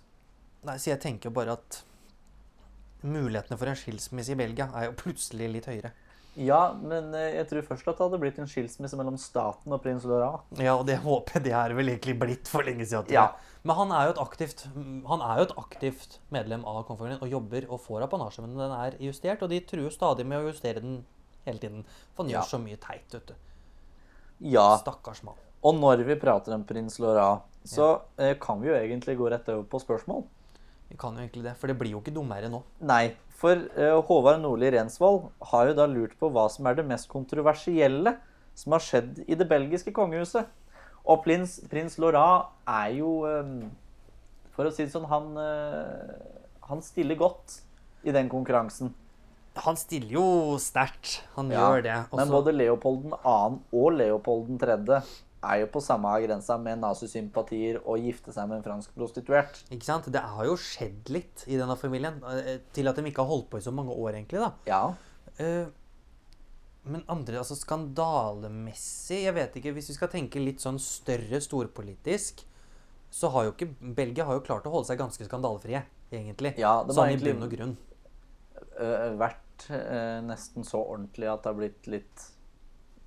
Nei, så jeg tenker bare at mulighetene for en skilsmisse i Belgia er jo plutselig litt høyere. Ja, men eh, jeg tror først at det hadde blitt en skilsmisse mellom staten og prins Laurent. Ja, og det håper jeg det er vel egentlig blitt for lenge siden. tror Ja. jeg. Men han er jo et aktivt han er jo et aktivt medlem av kongefamilien og jobber og får apanasje, men den er justert, og de truer stadig med å justere den hele tiden. For han Ja. gjør så mye teit, vet du. Ja, Stakkars mann. og når vi prater om prins Laurent, så eh, kan vi jo egentlig gå rett over på spørsmål. Vi kan jo egentlig det, for det blir jo ikke dummere nå. Nei, for eh, Håvard Nordli Rensvold har jo da lurt på hva som er det mest kontroversielle som har skjedd i det belgiske kongehuset. Og prins, prins Laurent er jo eh, For å si det sånn, han, eh, han stiller godt i den konkurransen. Han stiller jo sterkt. Han gjør det. Og Men så- både Leopold 2. og Leopold 3. er jo på samme grensa med nazisympatier og gifte seg med en fransk prostituert. Ikke sant? Det har jo skjedd litt i denne familien, eh, til at de ikke har holdt på i så mange år, egentlig. da. Ja, Eh, Men andre, altså skandalemessig Jeg vet ikke, hvis vi skal tenke litt sånn større storpolitisk, så har jo ikke Belgia har jo klart å holde seg ganske skandalefrie, egentlig. Ja, det var sånn i egentlig- bunn og grunn. eh, vært eh, nesten så ordentlig at det har blitt litt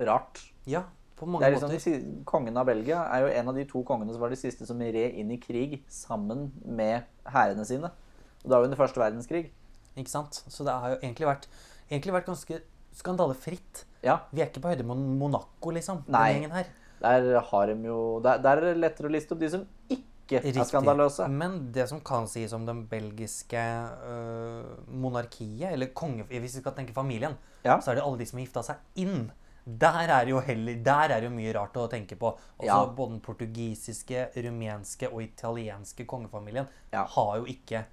rart. Ja, på mange Det er liksom, måter. de si- kongen av Belgia er jo en av de to kongene som var de siste som red inn i krig sammen med hærene sine. Og det var jo under første verdenskrig. Ikke sant? Så det har jo egentlig vært, egentlig vært ganske skandalefritt. Ja, Vi er ikke på høyde med Monaco, liksom. Nei. Den gjengen her. Der har de jo Der, der er det lettere å liste opp de som ikke er skandaløse. Men det som kan sies om den belgiske øh, monarkiet, eller konge, hvis vi skal tenke familien, Ja. så er det alle de som har gifta seg inn. Der er det jo heller, der er det jo mye rart å tenke på. Også Ja. Både den portugisiske, rumenske og italienske kongefamilien Ja. har jo ikke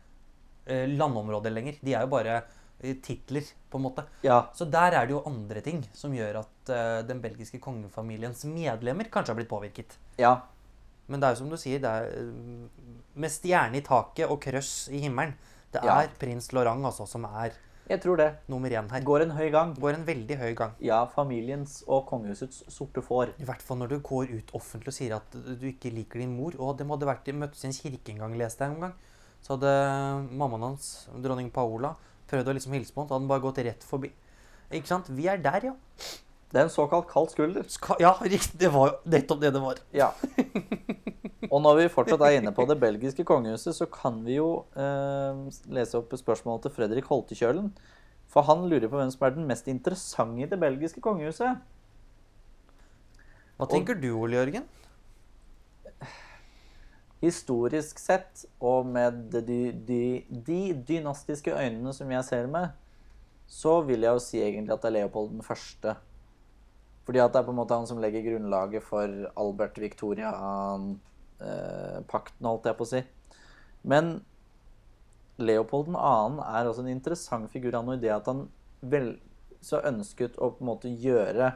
øh, landområder lenger. De er jo bare øh, titler, på en måte. Ja, Så der er det jo andre ting som gjør at øh, den belgiske kongefamiliens medlemmer kanskje har blitt påvirket. ja, Men det er jo som du sier, det er eh, med stjerne i taket og krøss i himmelen. Det Ja. er prins Laurent altså, som er jeg tror det. nummer én her. Går en høy gang. Går en veldig høy gang. Ja, familiens og kongehusets sorte får. I hvert fall når du går ut offentlig og sier at du ikke liker din mor. Og de hadde vært i møttes i en kirke en gang, leste jeg en gang. Så hadde mammaen hans, dronning Paola, prøvd å liksom hilse på ham, så hadde han bare gått rett forbi. Ikke sant? Vi er der, ja. Det er en såkalt kald skulder. Ska ja, riktig. Det var jo nettopp det det var. Ja. Og når vi fortsatt er inne på det belgiske kongehuset, så kan vi jo eh, lese opp spørsmålet til Fredrik Holtekjølen. For han lurer på hvem som er den mest interessante i det belgiske kongehuset. Hva tenker du, Ole Jørgen? Historisk sett, og med de, dy- dy- de dynastiske øynene som jeg ser med, så vil jeg jo si egentlig at det er Leopold den første. Fordi at det er på en måte han som legger grunnlaget for Albert-Victoria-pakten, eh, holdt jeg på å si. Men Leopold 2. er også en interessant figur. Han og i det at han vel, så ønsket å på en måte gjøre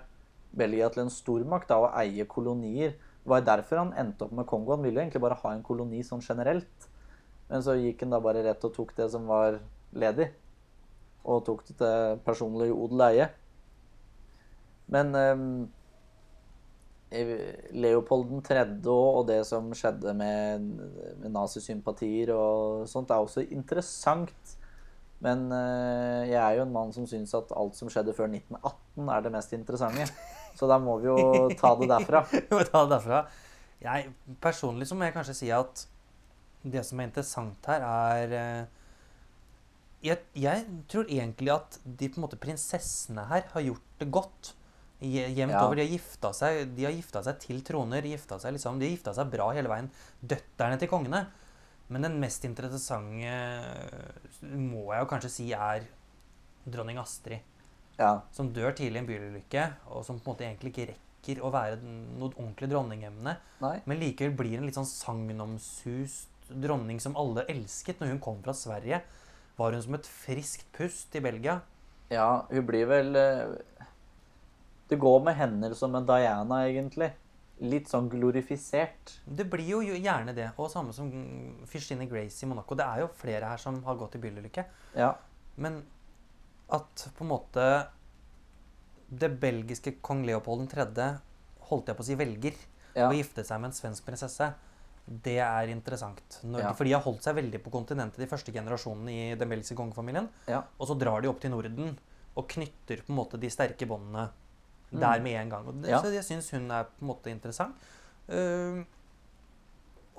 Belgia til en stormakt da, og eie kolonier. Det var derfor han endte opp med Kongo. Han ville jo egentlig bare ha en koloni sånn generelt. Men så gikk han da bare rett og tok det som var ledig. Og tok det til personlig odel og eie. Men ehm, Leopold 3. og det som skjedde med, med nazisympatier og sånt, er også interessant. Men eh, jeg er jo en mann som syns at alt som skjedde før 1918, er det mest interessante. Så da må vi jo ta det derfra. Vi må ta det derfra. Jeg, personlig så må jeg kanskje si at det som er interessant her, er eh, jeg, jeg tror egentlig at de på en måte prinsessene her har gjort det godt. Je- Jevnt Ja. over. De har, gifta seg, de har gifta seg til troner. Gifta seg, liksom, de har gifta seg bra hele veien. Døtterne til kongene. Men den mest interessante eh, må jeg jo kanskje si er dronning Astrid Ja, som dør tidlig i en bilulykke, og som på en måte egentlig ikke rekker å være den- noe ordentlig dronningemne, nei. men likevel blir en litt sånn sagnomsust dronning som alle elsket når hun kom fra Sverige. Var hun som et friskt pust i Belgia? Ja, hun blir vel eh, Det går med hender som med Diana, egentlig. Litt sånn glorifisert. Det blir jo jo gjerne det, og samme som mm, Fistine Grace i Monaco. Det er jo flere her som har gått i bilulykke. Ja. Men at på en måte det belgiske kong Leopold 3., holdt jeg på å si, velger Ja. å gifte seg med en svensk prinsesse, det er interessant. Når, Ja. For de har holdt seg veldig på kontinentet de første generasjonene i den belgiske kongefamilien. Ja. Og så drar de opp til Norden og knytter på en måte de sterke båndene der med en gang. Og det, Mm. Ja. Så jeg syns hun er på en måte interessant. Eh,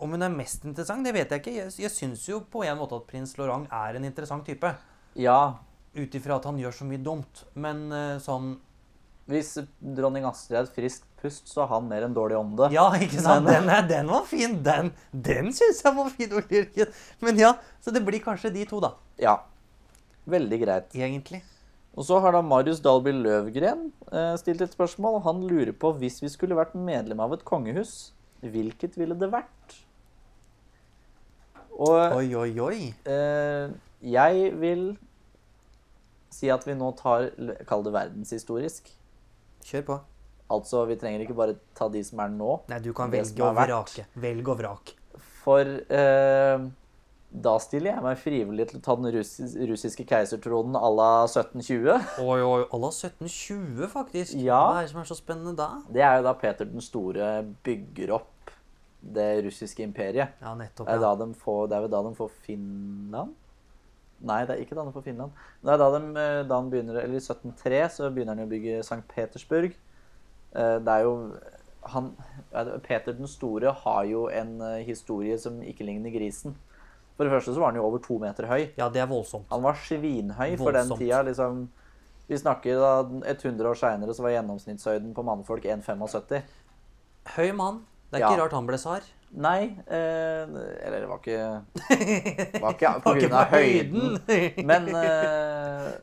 om hun er mest interessant, det vet jeg ikke. Jeg, jeg syns jo på en måte at prins Laurent er en interessant type. ja. Ut ifra at han gjør så mye dumt. Men eh, sånn Hvis dronning Astrid er et friskt pust, så har han mer enn dårlig ånde. Ja, ikke sant? Men- Den, er, den var fin. Den, den syns jeg var fin, Ole Jørgen. Men ja, så det blir kanskje de to, da. Ja. Veldig greit. Egentlig. Og så har da Marius Dalby Løvgren eh, stilt et spørsmål. Han lurer på hvis vi skulle vært medlem av et kongehus, hvilket ville det vært? Og Oi, oi, oi. eh, jeg vil si at vi nå tar Kall det verdenshistorisk. Kjør på. Altså, vi trenger ikke bare ta de som er nå. Nei, du kan Det velge som og har vært. vrake. Velg og vrak. For eh, da stiller jeg meg frivillig til å ta den russis russiske keisertronen à la 1720. Oi, oi. Alla 1720, faktisk. Ja. Hva er det som er så spennende da? Det er jo da Peter den store bygger opp det russiske imperiet. Ja, nettopp. Det er, Ja. da de får, det er vel da de får Finland? Nei, det er ikke da de får Finland. Det er da, de, eh, da han begynner, eller I 1703 så begynner han jo å bygge St. Petersburg. Eh, Det er jo han, ja, det- Peter den store har jo en eh, historie som ikke ligner grisen. For det første så var han jo over to meter høy. ja, det er voldsomt. Han var svinhøy for den Voldsomt. tida. liksom... Vi snakker da 100 år seinere, så var gjennomsnittshøyden på mannfolk 1,75. Høy mann. Det er ikke Ja. rart han ble tsar. Nei eh, Eller det var ikke Var ikke på Var ikke grunn av på høyden. høyden. Men eh,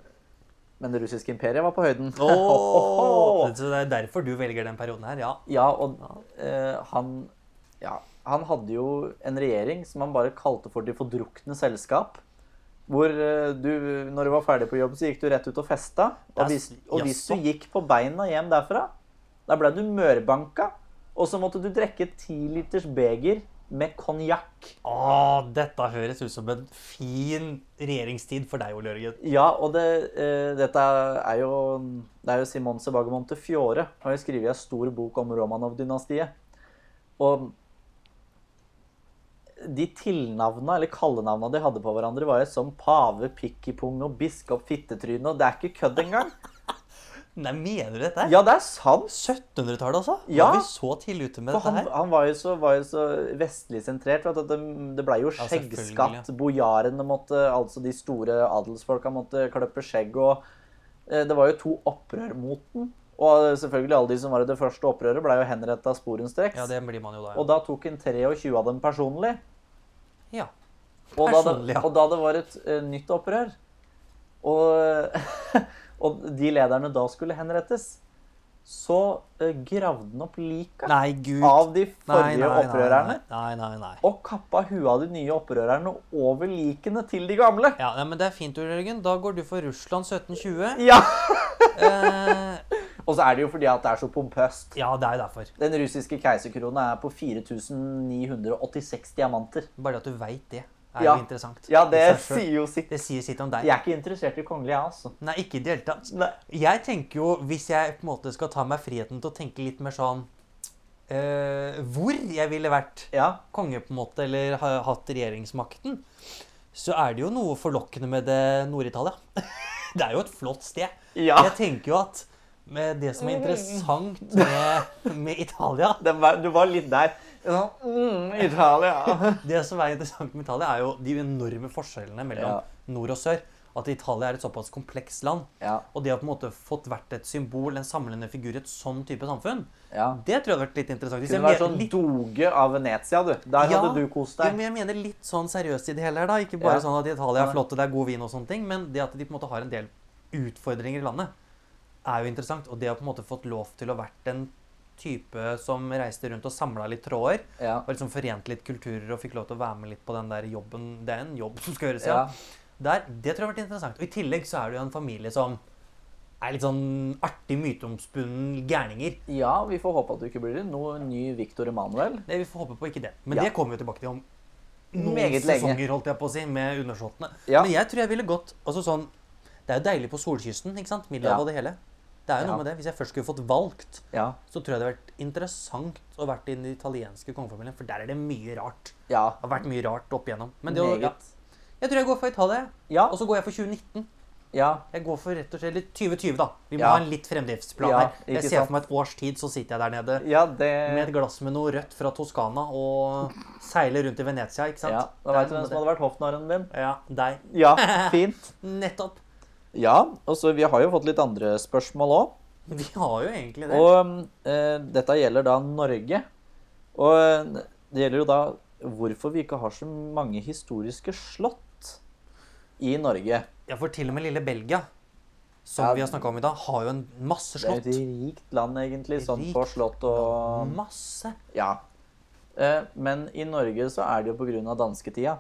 Men det russiske imperiet var på høyden. Åh, Så det er derfor du velger den perioden her, ja. Ja, og eh, han Ja, han hadde jo en regjering som han bare kalte for De fordrukne selskap. Hvor eh, du, når du var ferdig på jobb, så gikk du rett ut og festa. Det er Og hvis, s- og hvis jaså. du gikk på beina hjem derfra, da ble du mørbanka. Og så måtte du drikke ti liters beger med konjakk. Åh, dette høres ut som en fin regjeringstid for deg, Ole Jørgen. Ja, og det, eh, dette er jo Det er jo Simone Sebago Montefiore. Har jo skrevet en stor bok om Romanov-dynastiet. Og de tilnavna, eller kallenavna de hadde på hverandre, var jo som pave, pikkipung og biskop fittetryne. Og det er ikke kødd engang. Nei, mener du dette? her? Ja, det er sant! 1700-tallet, altså? Ja. Var vi så tidlig ute med For dette han, her? han var, jo så, var jo så vestlig sentrert. vet du, At det, det blei jo Ja, selvfølgelig, skjeggskatt. Bojarene måtte, altså de store adelsfolka måtte kløppe skjegg. Og eh, det var jo to opprør mot den. Og eh, selvfølgelig alle de som var i det første opprøret, blei jo henretta sporenstreks. Ja, det blir man jo da. Og da tok en 23 av dem personlig. Ja. Og da, Personlig, det, ja. og da det var et eh, nytt opprør, og, og de lederne da skulle henrettes, så eh, gravde han opp lika Nei, gud. av de Nei, forrige nei, nei, opprørerne. Nei, nei, nei. nei. og kappa huet av de nye opprørerne over likene til de gamle. Ja, nei, men Det er fint, Ole Jørgen. Da går du for Russland 1720. Ja! Eh, Og så er det jo fordi at det er så pompøst. ja, det er jo derfor. Den russiske keiserkrona er på 4986 diamanter. Bare det at du veit det, er Ja. jo interessant. Ja, i det seg selv. sier jo sitt. det sier sitt om deg. Jeg er ikke interessert i kongelige, jeg, altså. Nei, ikke i det hele tatt. Nei. Jeg tenker jo, hvis jeg på en måte skal ta meg friheten til å tenke litt mer sånn eh, Hvor jeg ville vært Ja, konge, på en måte, eller ha, hatt regjeringsmakten, så er det jo noe forlokkende med det Nord-Italia. Det er jo et flott sted. ja. Jeg tenker jo at med det som er interessant med, med Italia Den var, du var litt der. Ja, Mm, Italia. Det som er interessant med Italia, er jo de enorme forskjellene mellom Ja. nord og sør. At Italia er et såpass komplekst land. Ja, Og det å på en måte fått vært et symbol, en samlende figur i et sånn type samfunn, ja. det tror jeg hadde vært litt interessant. Hvis Du Liksom, jeg var mener sånn litt- doge av Venezia, du. Der Ja. hadde du kost Jo, deg. men jeg mener litt sånn seriøst i det hele her, da. Ikke bare Ja. sånn at Italia Nei. er flott og det er god vin og sånne ting, men det at de på en måte har en del utfordringer i landet, er jo interessant. Og det å på en måte fått lov til å vært en type som reiste rundt og samla litt tråder, Ja. og liksom forent litt kulturer og fikk lov til å være med litt på den der jobben Det er en jobb som skal gjøres, ja. Ja. Der, det tror jeg har vært interessant. Og i tillegg så er det jo en familie som er litt sånn artig myteomspunnen gærninger. ja, vi får håpe at du ikke blir noe ny Victor Emanuel. Det, vi får håpe på ikke det. Men Ja. det kommer vi jo tilbake til om noen Meget lenge. sesonger, holdt jeg på å si, med undersåttene. Ja. Men jeg tror jeg ville gått altså sånn, Det er jo deilig på solkysten, ikke sant? Middelhavet Ja. og det hele. Det er jo Ja. noe med det. Hvis jeg først skulle fått valgt, Ja. så tror jeg det hadde vært interessant å vært i den italienske kongefamilien, for der er det mye rart. Ja. Det har vært mye rart opp igjennom. Men det, å- Meget. ja. Jeg tror jeg går for Italia. Ja. Og så går jeg for 2019. ja. Jeg går for rett og slett litt 2020, da. Vi må Ja. ha en litt fremdriftsplan Ja, her. Jeg ikke ser sant. for meg et års tid, så sitter jeg der nede Ja, det med et glass med noe rødt fra Toskana og seiler rundt i Venezia, ikke sant? Ja, da veit du Det hvem er som noe hadde vært hoffnarren din. med det. Ja, deg. Ja, fint. Nettopp. Ja, og så vi har jo fått litt andre spørsmål òg. Vi har jo egentlig det. Og eh, dette gjelder da Norge. Og eh, det gjelder jo da hvorfor vi ikke har så mange historiske slott i Norge. Ja, for til og med lille Belgia, som Ja. vi har snakka om i dag, har jo en masse Det er slott. jo et rikt land, egentlig, sånn Rikt på slott og Masse. Ja. Eh, men i Norge så er det jo på grunn av dansketida.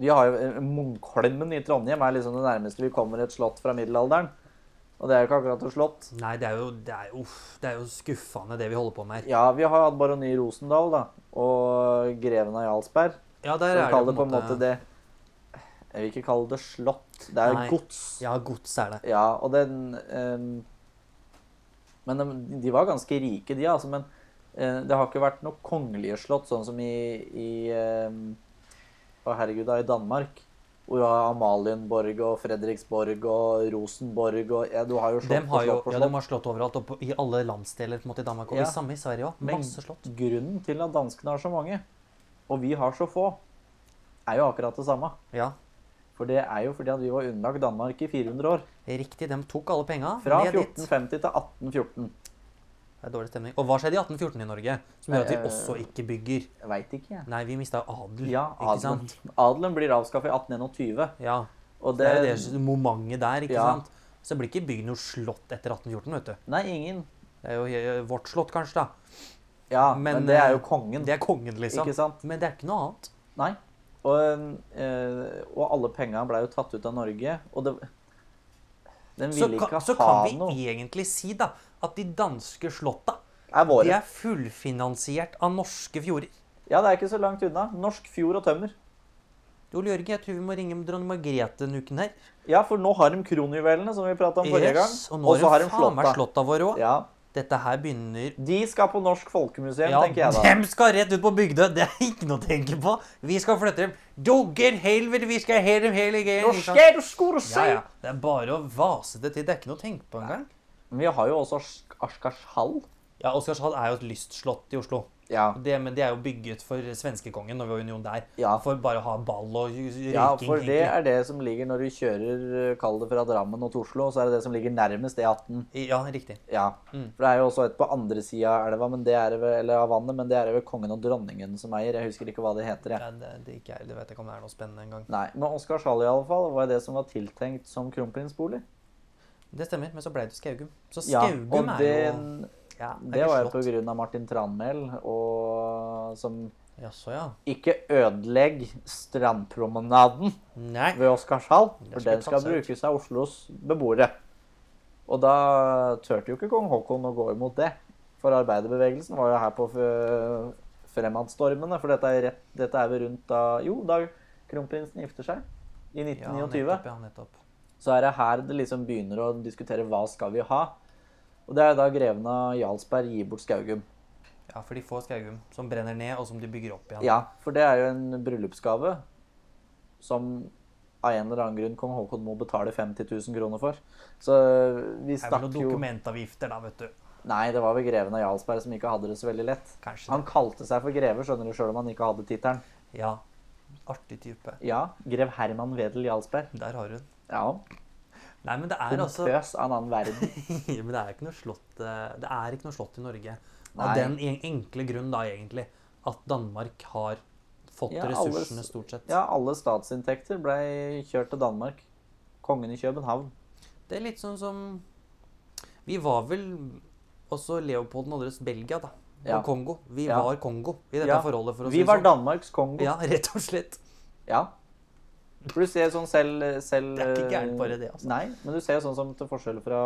Vi har jo eh, Munkholmen i Trondheim er liksom det nærmeste vi kommer et slott fra middelalderen. Og det er jo ikke akkurat et slott. Nei, det er jo, det er jo, uff, det er jo skuffende, det vi holder på med her. Ja, vi har hatt baroni Rosendal, da. Og greven av Jarlsberg. Ja, Så der er det kall det på en måte det Jeg vil ikke kalle det slott. Det er Nei. gods. Ja, gods er det. Ja, og den ehm, Men de, de var ganske rike, de, altså. Men eh, det har ikke vært noe kongelige slott, sånn som i, i ehm, Å, herregud, da, i Danmark. Hvor du har Amalienborg og Fredriksborg og Rosenborg og ja, Du har jo slott De har på jo slott på ja, slott. de har slått overalt, og på, i alle landsdeler på en måte, i Danmark. Og Ja. det samme i Sverige òg. Men Masse slått. grunnen til at danskene har så mange, og vi har så få, er jo akkurat det samme. Ja, For det er jo fordi at vi var underlagt Danmark i 400 år. Riktig, de tok alle penga. Fra ned dit. 1450 til 1814. Det er dårlig stemning. Og hva skjedde i 1814 i Norge, som gjør at vi Eh, også ikke bygger? Jeg veit ikke, jeg. Nei, vi mista adel. Ja, ikke adelen. sant? Adelen blir avskaffa i 1821. Ja, Og Det det, er jo det momentet der, ikke Eh, Ja. sant? Så det blir ikke bygd noe slott etter 1814, vet du. Nei, ingen. Det er jo eh, vårt slott, kanskje, da. Ja, men, Men, det er jo eh, kongen. Det er kongen, liksom. Ikke sant? Men det er ikke noe annet. Nei. Og, eh, og alle penga blei jo tatt ut av Norge, og det Den Så, ville kan- ikke så ha kan vi noe. egentlig si da, at de danske slotta Er de våre. er fullfinansiert av norske fjorder. Ja, det er ikke så langt unna. Norsk fjord og tømmer. Ole Jørgen, jeg tror vi må ringe med dronning Margrethe denne uken her. Ja, for nå har de kronjuvelene, som vi prata om forrige gang. Yes, og nå så har hun faen meg slotta våre òg. Ja. Dette her begynner De skal på Norsk folkemuseum, Ja, tenker jeg da. dem skal rett ut på Bygdøy. Det er ikke noe å tenke på. Vi skal flytte dem. Dogger helvete, vi skal ha dem hele gjengen. ikke sant? du skor og Ja, ja. Det er bare å vase det til. Det er ikke noe å tenke på engang. Men vi har jo også Ars- Askershall. Ja, Oscarshall er jo et lystslott i Oslo. Ja. Det, men det er jo bygget for svenskekongen når vi var i union der. Ja. For bare å ha ball og røyking. ja, for det egentlig. er det som ligger når du kjører eh, kall det fra Drammen og til Oslo, så er det det som ligger nærmest E18. Ja, riktig. Ja. Mm. For det er jo også et på andre sida av elva, men det er det ved, eller av vannet, men det er det ved kongen og dronningen som eier. Jeg husker ikke hva det heter. Jeg. Ja, det, det, er ikke, jeg- det vet jeg ikke om det er noe spennende engang. Nei, Men Oscarshall i alle fall var det som var tiltenkt som kronprinsbolig. Det stemmer, men så ble det Skaugum. Så Ja, Skaugum og er jo den- ja, Det var jo slott. pga. Martin Tranmæl, og som Jaså, ja. ikke ødelegg strandpromenaden Nei. ved Oscarshall, for Den skal den skal tas ut. brukes av Oslos beboere. Og da turte jo ikke kong Haakon å gå imot det. For arbeiderbevegelsen var jo her på f- fremadstormene, for dette er, rett, dette er ved rundt da Jo, da kronprinsen gifter seg i Ja, 1929 nettopp. Ja, nettopp. så er det her det liksom begynner å diskutere hva skal vi ha. Og det er da greven av Jarlsberg gir bort Skaugum. Ja, for de får Skaugum, som brenner ned, og som de bygger opp igjen. Ja, for det er jo en bryllupsgave som av en eller annen grunn kong Haakon må betale 50 000 kroner for. Så øh, vi det er vel stakk noen jo dokumentavgifter, da, vet du. Nei, det var vel greven av Jarlsberg som ikke hadde det så veldig lett. Kanskje Han kalte seg for greve, skjønner du, sjøl om han ikke hadde tittelen. det. Ja. Artig type. Ja, grev Herman Wedel Jarlsberg. Der har hun. Ja, Nei, men det er altså pompøs av en annen verden. Men det er ikke noe slott eh, Det er ikke noe slott i Norge. Av Nei. den en- enkle grunn, da, egentlig, at Danmark har fått Ja, alle s- ressursene, stort sett. Ja, alle statsinntekter blei kjørt til Danmark. Kongen i København. Det er litt sånn som Vi var vel også Leopold den andres Belgia, da. Og Ja. Kongo. Vi Ja. var Kongo i dette Ja. forholdet, for å Vi det var sånn. Danmarks Kongo. Ja. Ja, rett og slett. For du ser sånn selv, selv Det er ikke eh, gærent bare det, altså. Nei, men du ser sånn som til forskjell fra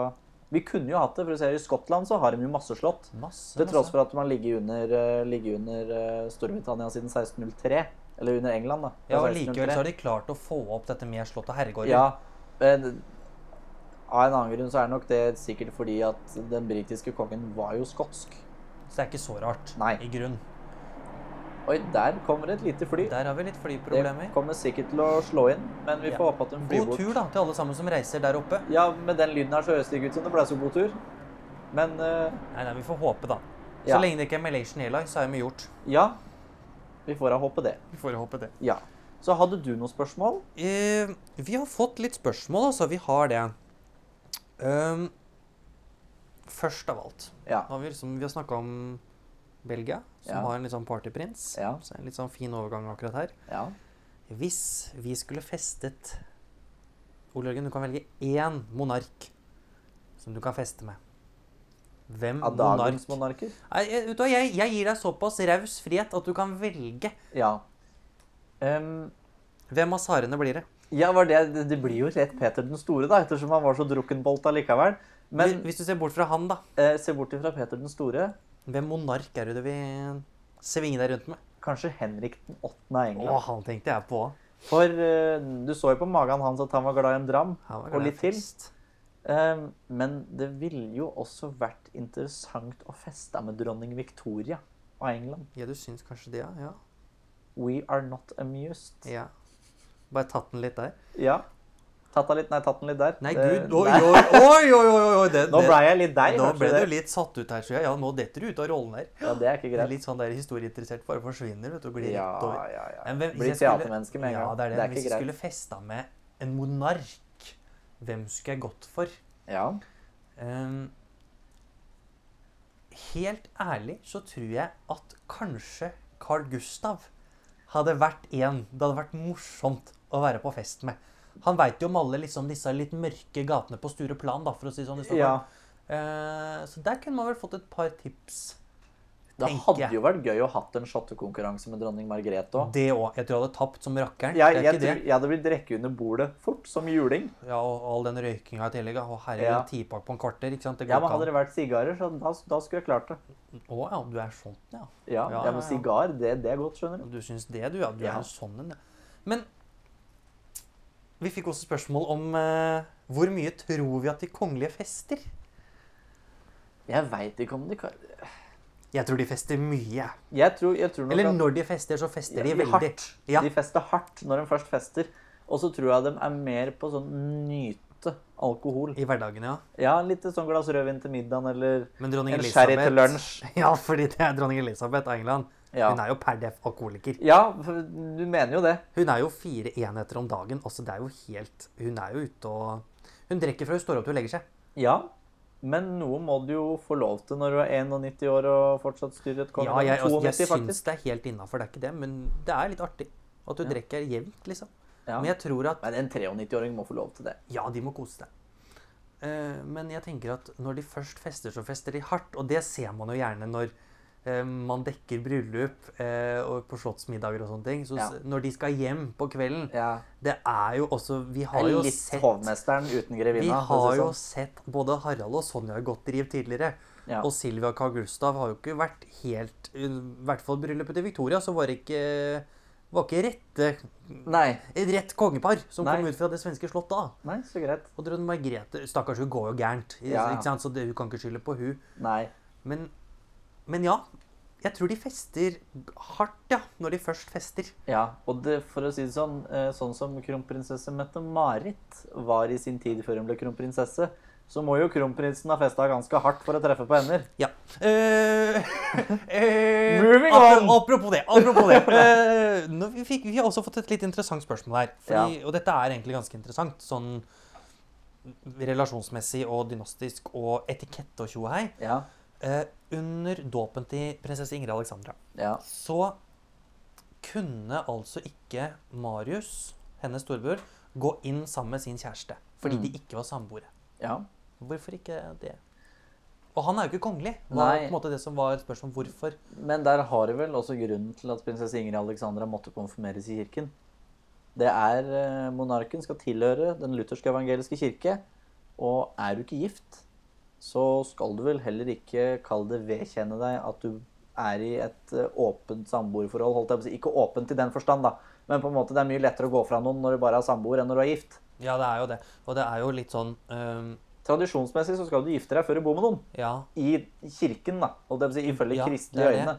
Vi kunne jo hatt det, for du ser i Skottland så har de jo masse slott. Masse, Til tross masse. for at man ligger under, eh, ligger under eh, Storbritannia siden 1603. Eller under England, da. Altså, Ja, og Likevel så har de klart å få opp dette med slott og herregårder. Ja, men av en annen grunn så er nok det sikkert fordi at den britiske kongen var jo skotsk. Så det er ikke så rart. Nei. I grunn. Oi, der kommer et lite fly. Der har vi litt Det flyproblemer. kommer sikkert til å slå inn, men vi Ja. får håpe at den flyr God bort. tur da, til alle sammen som reiser der oppe. Ja, med den lyden her så høres det ikke ut som det ble så god tur. Men eh, Nei, nei, vi får håpe, da. Så Ja. lenge det ikke er Malaysian Airlines, så er vi gjort. ja, vi får da håpe det. Vi får håpe det. Ja. Så hadde du noen spørsmål? Eh, vi har fått litt spørsmål, altså. Vi har det. Ehm, først av alt. Ja. Nå har vi, liksom, vi har snakka om Belgia, som Ja. har en litt sånn partyprins. Ja. Så en litt sånn fin overgang akkurat her. ja. Hvis vi skulle festet Ole Jørgen, du kan velge én monark som du kan feste med. Hvem Av monark? dagens monarker? Nei, jeg- vet du hva, jeg, jeg gir deg såpass raus frihet at du kan velge. Ja. Ehm, Hvem av tsarene blir det? ja, var det, det- det blir jo rett Peter den store, da, ettersom han var så drukkenbolt allikevel. Men Hvis du ser bort fra han, da. eh, se bort ifra Peter den store. Hvem monark er det du vil svinge deg rundt med? Kanskje Henrik den åttende av England. Å, han tenkte jeg på. For eh, du så jo på magen hans at han var glad i en dram, Han var glad og i litt til. fest. Eh, men det ville jo også vært interessant å feste med dronning Victoria av England. Ja, du syns kanskje det, ja? ja. We are not amused. ja. Bare tatt den litt der. Ja. Tatt den litt, nei, tatt den litt der. Nei, Det- gud, oi, Eh, nei. oi, oi! oi, oi, oi det, Nå det- ble jeg litt deg, Nå kanskje ble det. du litt satt ut her, tror jeg. Ja, nå detter du ut av rollen der. Ja, det er ikke Du er greit. litt sånn der historieinteressert, bare forsvinner, vet du. og Blir Ja, rett over. ja, ja. Men hvem- hvis Blir jeg skulle- teatermenneske med en Ja, gang. det er Det er det. Men hvis ikke jeg greit. skulle festa med en monark, hvem skulle jeg gått for? Ja. Ehm, helt ærlig så tror jeg at kanskje Carl Gustav hadde vært en det hadde vært morsomt å være på fest med. Han veit jo om alle liksom, disse litt mørke gatene på Stureplan, da, for å si det sånn. i Stockholm. ja. Eh, så der kunne man vel fått et par tips. Det tenker hadde jeg. jo vært gøy å hatt en shottekonkurranse med dronning Margrethe òg. Det òg. Jeg tror jeg hadde tapt som Jeg, rakkeren. det er jeg, ikke tror- jeg hadde blitt drukket under bordet fort, som juling. det. Ja, og all den røykinga i tillegg. ja. Å, herregud, Ja. en tipakk på en kvarter. ikke sant? Det Ja, går men ikke Hadde det an. vært sigarer, så da, da skulle jeg klart det. Å ja, du er sånn, ja. Ja, Ja, ja, ja, men ja. sigar, det, det er godt, skjønner du. Du syns det, du, ja. Du Ja. er en sånn en, ja. Men vi fikk også spørsmål om eh, hvor mye tror vi at de kongelige fester? Jeg veit ikke om de kan Jeg tror de fester mye. Jeg tror, jeg tror nok Eller at når de fester, så fester de Ja, veldig. hardt. Ja. De fester hardt når de først fester. Og så tror jeg de er mer på sånn nyte alkohol. I hverdagen, ja. Ja, litt sånn glass rødvin til middagen, eller Men dronning en Elisabeth sherry til lunsj. Ja, fordi det er dronning Elisabeth av England. Ja. Hun er jo per def alkoholiker. Ja, for du mener jo det. Hun er jo fire enheter om dagen. Altså, det er jo helt Hun er jo ute og Hun drikker fra hun står opp til hun legger seg. Ja. Men noe må du jo få lov til når du er 91 år og fortsatt styrer et Ja, kongeland. jeg, altså, 92, jeg syns faktisk. det er helt innafor, det er ikke det, men det er litt artig. At hun drikker jevnt, liksom. Ja. Men jeg tror at Men en 93-åring må få lov til det. Ja, de må kose seg. Eh, Men jeg tenker at når de først fester, så fester de hardt. Og det ser man jo gjerne når eh, man dekker bryllup eh, og på slottsmiddager og sånne ting. Så Ja. s- når de skal hjem på kvelden Ja. Det er jo også Vi har jo Litt sett hovmesteren uten Vi grevinna. for å har si jo sånn. sett både Harald og Sonja i godt driv tidligere. Ja. Og Silvia og Carl Gustav har jo ikke vært helt eh, I hvert fall bryllupet til Victoria så var det ikke, var ikke rette, Nei. et rett kongepar som Nei. kom ut fra det svenske slottet. da. Nei, så greit. Og dronning Margrethe Stakkars, hun går jo gærent. i- Ja. Ikke sant? Så det, hun kan ikke skylde på hun. Nei. Men, men ja. Jeg tror de fester hardt, ja. Når de først fester. Ja, og det, for å si det sånn, eh, sånn som kronprinsesse Mette-Marit var i sin tid før hun ble kronprinsesse, så må jo kronprinsen ha festa ganske hardt for å treffe på hender. Ja. Eh, eh, Moving apro- on. Apropos det. apropos det. Eh, nå, vi, fikk, vi har også fått et litt interessant spørsmål her. Fordi, Og dette er egentlig ganske interessant. Sånn relasjonsmessig og dynastisk og etikette og tjo og hei. Ja, Eh, under dåpen til prinsesse Ingrid Alexandra ja, så kunne altså ikke Marius, hennes storebror, gå inn sammen med sin kjæreste. Fordi Mm. de ikke var samboere. ja. Hvorfor ikke det? Og han er jo ikke kongelig. Var Nei. på en måte det som var spørsmålet hvorfor. Men der har du vel også grunnen til at prinsesse Ingrid Alexandra måtte konfirmeres i kirken. Det er eh, Monarken skal tilhøre den lutherske evangeliske kirke, og er du ikke gift, så skal du vel heller ikke kalle det vedkjenne deg at du er i et eh, åpent samboerforhold. holdt jeg på å si. Ikke åpent i den forstand, da, men på en måte det er mye lettere å gå fra noen når du bare er samboer, enn når du er gift. Ja, det er jo det. Og det er jo litt sånn øhm, Tradisjonsmessig så skal du gifte deg før du bor med noen. Ja. I kirken, da, holdt jeg på å si, ifølge Ja, det kristelige er det. øyne.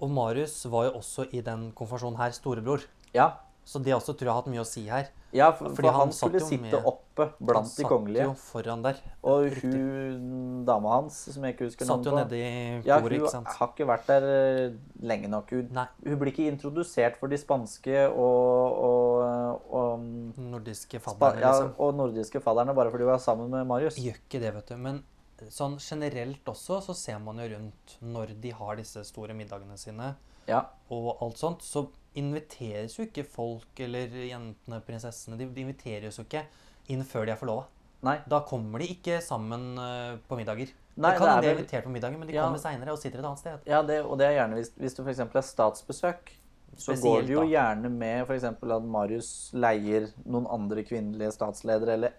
Og Marius var jo også i den konfirmasjonen her storebror. Ja, Så det også tror jeg har hatt mye å si her. Ja, for, Fordi for han, han satt skulle jo sitte med- oppe Han blant de kongelige. Satt jo foran der. Og Riktig. hun dama hans, som jeg ikke husker Satt jo navnet på nedi ja, koret, Hun Ah. ikke sant. har ikke vært der eh, lenge nok. Hun, Nei. hun blir ikke introdusert for de spanske og, og, og, um, Nordiske spa, fadderne, ja, liksom. og nordiske fadderne bare fordi hun er sammen med Marius. Gjør ikke det, vet du. Men sånn generelt også så ser man jo rundt når de har disse store middagene sine Ja. og alt sånt, så inviteres jo ikke folk eller jentene, prinsessene, de, de inviteres jo ikke inn før de er forlova. Nei. Da kommer de ikke sammen eh, på middager. Nei, de kan det hende er de er vel- invitert på middagen, men de Ja. kommer seinere og sitter et annet sted. Ja, det, og det er gjerne hvis, hvis du f.eks. er statsbesøk, så Spesielt, går det jo da. gjerne med f.eks. at Marius leier noen andre kvinnelige statsledere, eller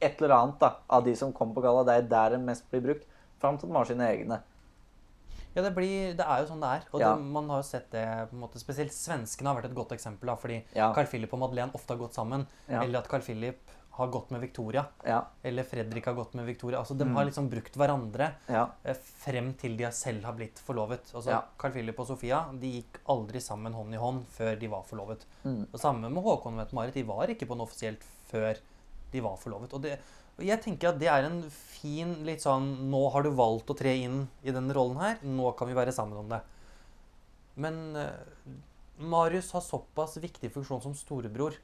et eller annet da, av de som kommer på galla. Det er der det mest blir brukt, fram til de har sine egne. Ja, det, blir, det er jo sånn det er. Og Ja. det, man har jo sett det på en måte, Spesielt svenskene har vært et godt eksempel. Da, fordi Ja. Carl Philip og Madeleine ofte har gått sammen. Ja. Eller at Carl Philip har gått med Victoria. Ja, Eller Fredrik har gått med Victoria. Altså, De har liksom brukt hverandre Mm. ja, eh, frem til de selv har blitt forlovet. Altså, Ja. Carl Philip og Sofia de gikk aldri sammen hånd i hånd før de var forlovet. Mm. Og Samme med Håkon og Mette-Marit. De var ikke på noe offisielt før de var forlovet. Og, det, og jeg tenker at det er en fin litt sånn Nå har du valgt å tre inn i denne rollen her. Nå kan vi være sammen om det. Men eh, Marius har såpass viktig funksjon som storebror,